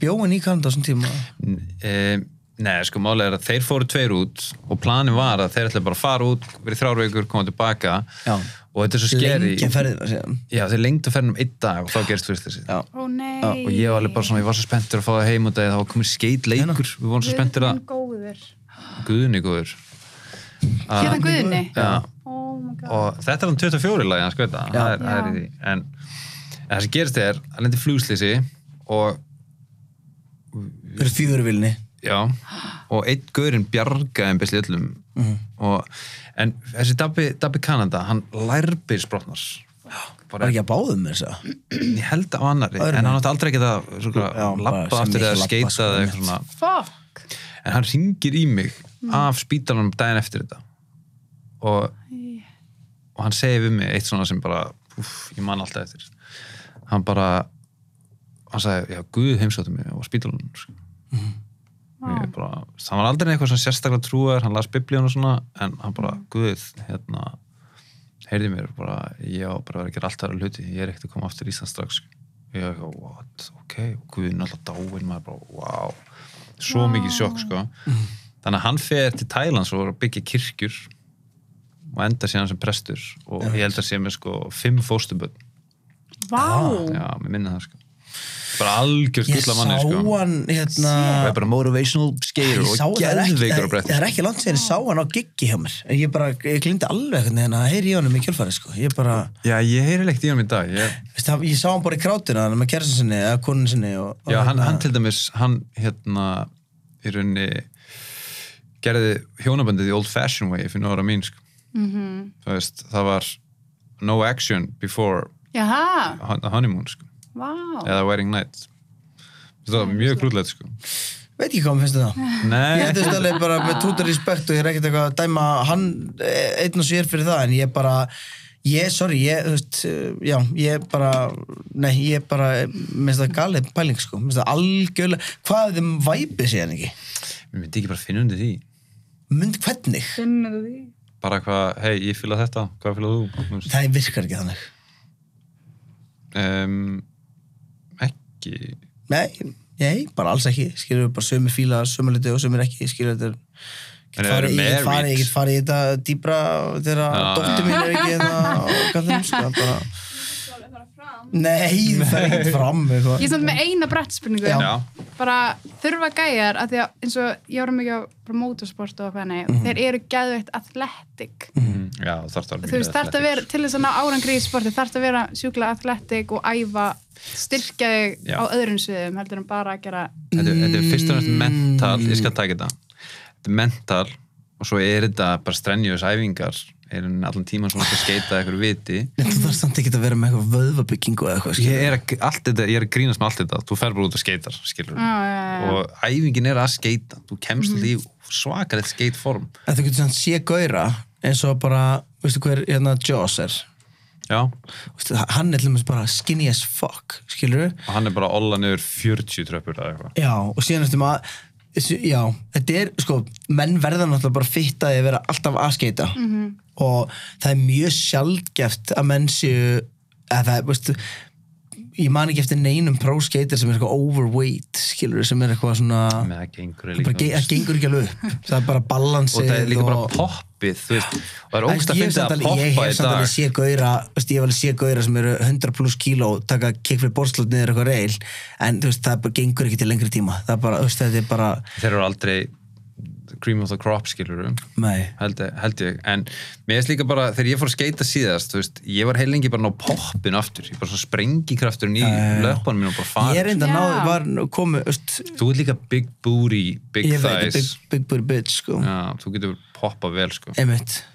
bjóin í Kanada á þessum tíma
um, Nei, sko, málið er að þeir fóru tveir út og planin var að þeir ætlaði bara að fara út verið þrjár vikur, koma tilbaka
Já.
og þetta er svo skeri
Lengja ferðina síðan.
Já, þeir lengdu ferðin um einn dag og þá gerist þú þessi
Já.
Ó nei.
Já,
og ég var alveg bara svona, ég var svo spenntur að fá það heim og það var komið skeit leikur við vorum svo spenntur að
Góður.
guðni góður
Hérna Guðni.
Já,
Oh my god.
og þetta er hann 24 lagi hans gauta það er, það er í því en, en það sem gerist er, hann lendi flugslýsi og
Þeir eru fýðurvilni.
Já, og einn gaurinn bjargaði einbæsli öllum
Mhm.
og, en þessi Dabbi, Dabbi Kanada hann lærbir sprotnar
Var
bara
ekki að báðum þess að?
ég held á annari
Öðrum
en hann
megin.
átti aldrei ekki að
Já, bara
lappa
sem
aftur eða
mikið labba,
skeita
sko,
eða
einmitt.
eitthvað svona
Fuck.
en hann ringir í mig af spítalanum daginn eftir þetta og, og hann segir við mig eitt svona sem bara úf, ég man alltaf eftir hann bara hann sagði, já, Guð heimsótti mig á spítalanum sko. mm. bara, það var aldrei eitthvað svona sérstaklega trúar hann las biblíun og svona en hann bara, Guð, hérna heyrði mér bara, ég á bara að vera að gera alltaf aðra hluti, ég er ekkert að koma aftur í Ísland strax sko. ég er eitthvað, what, ok Guð, náttúrulega dáin, maður bara, wow svo mikið sjokk, sko þannig að hann fer til Tælands og er að byggja kirkjur og enda síðan sem prestur og ég held að sé með sko fimm fóstuböld,
Vá.
já, mér minna það sko bara algjör
Ég
skulla
sá
manni, sko
hann, hérna...
og er bara motivational skeir
Ég
og
sá það er ekki, það-
geðveikur á
það
brettinu
er ekki langt sér, ég sá hann á giggi hjá mér. En Ég bara, ég glindi alveg hvernig hérna, heyri ég honum í kjölfari, sko. Ég bara,
já, ég heyri leikt í hann í dag ég,
veist það, ég sá hann bara í krátina, hann með kersin sinni, eða konin sinni og... og
já, hann,
hérna-
hann til dæmis, hann hérna í rauninni gerði hjónabandið í old fashion way fyrir nára mín, sko
Mhm.
mm veist, það var no action before
Jaha.
hon- honeymoon, sko
Vá.
eða Wedding Night það var mjög grúðlegt sko
Veit ekki hvað mér finnst um þetta. Ég
Nei,
held þetta alveg bara með tútar respekt og ég er ekkert eitthvað að dæma hann eh, einn og sér fyrir það, en ég bara... Ég, sorry, ég, þú veist, eh, já, ég bara, nei, ég bara, eh, mér finnst það galið pæling, sko, mér finnst það algjörlega, hvað ef þeim væpið sé hann ekki?
mér myndi ekki bara finna undir því
Mynd hvernig?
Finnur þú því?
bara hvað, hei, ég fýla þetta, hvað fýla þú
Það virkar ekki þannig.
um, ekki
Nei, nei, bara alls ekki skilur við bara sömu fíla, sömu liti og sömu ekki skilur við
En
þetta
eru
farið- ég get farið-
married?
ég get farið í þetta dýbra þegar
Já,
dóttir
já.
mín er ekki *laughs* hérna og kallum sko, bara... Nei, það er ekkert fram eitthvað.
Ég er samt með eina brettspurningu
Já.
já,
bara þurfa gæjar að því að eins og ég var mikið á bara motorsport og hvernig þeir eru gæðveitt athletic
mm, já þarf það
þú veist þarf það að vera til þess að ná árangri í sporti þarf það að vera sjúkla athletic og æfa styrkja þig
Já.
á öðrum sviðum heldur en bara að gera
þetta, er- þetta er fyrst og næst
Mm.
mental, ég skal taka þetta þetta er mental og svo er þetta bara strenjus æfingar er hann allan tíman svona að skeita eitthvað viti
Þú þarfst samt ekki að vera með eitthvað vöðvabyggingu eða eitthvað
ég er, að, allt þetta, ég er að grínast með allt þetta þú fer bara út og skeitar, skilur
Já, já, já.
og æfingin er að skeita þú kemst mm -hmm. í svakarið skeitform
En þú getur samt sé gauðra eins og bara, veistu hver hérna Joss er
já,
Veistu, hann er til dæmis bara skinny as fuck skilur við
og hann er bara að olla niður 40 tröppur eða eitthvað
Já, og síðan eftir maður Já, þetta er, sko, menn verða náttúrulega bara fitt að þið vera alltaf að skeita -hmm. og það er mjög sjaldgæft að menn séu að það, er, veistu ég man ekki eftir neinum próskeitir sem er eitthvað overweight, skilur, sem er eitthvað svona
með það gengur
Ah. bara, ge það gengur ekki alveg upp það er bara balansið
og það er líka bara
og-
poppið þú veist, og það er
En
ógst að
ég hef
finna
samt
að
alveg- ég
poppa
hef
í
samt
dag
alveg sé gauðra ég hef alveg sé gauðra sem eru 100 pluss kíló taka kickflip borslótt niður eitthvað reil en þú veist, það bara gengur ekki til lengri tíma það er bara, þú veist, þetta er bara
þeir eru aldrei cream of the crop skilurum
nei,
held, held ég, en mér veist líka bara þegar ég fór að skeita síðast, þú veist ég var heilengi bara að ná poppin aftur ég bara svona sprengikrafturinn í löpunum mín og bara
ég
farið
er enda
Já.
náður var komið, þú veist
þú ert líka big booty, big
ég veit,
thighs
big, big booty bitch, sko
Já, þú getur poppað vel sko
einmitt,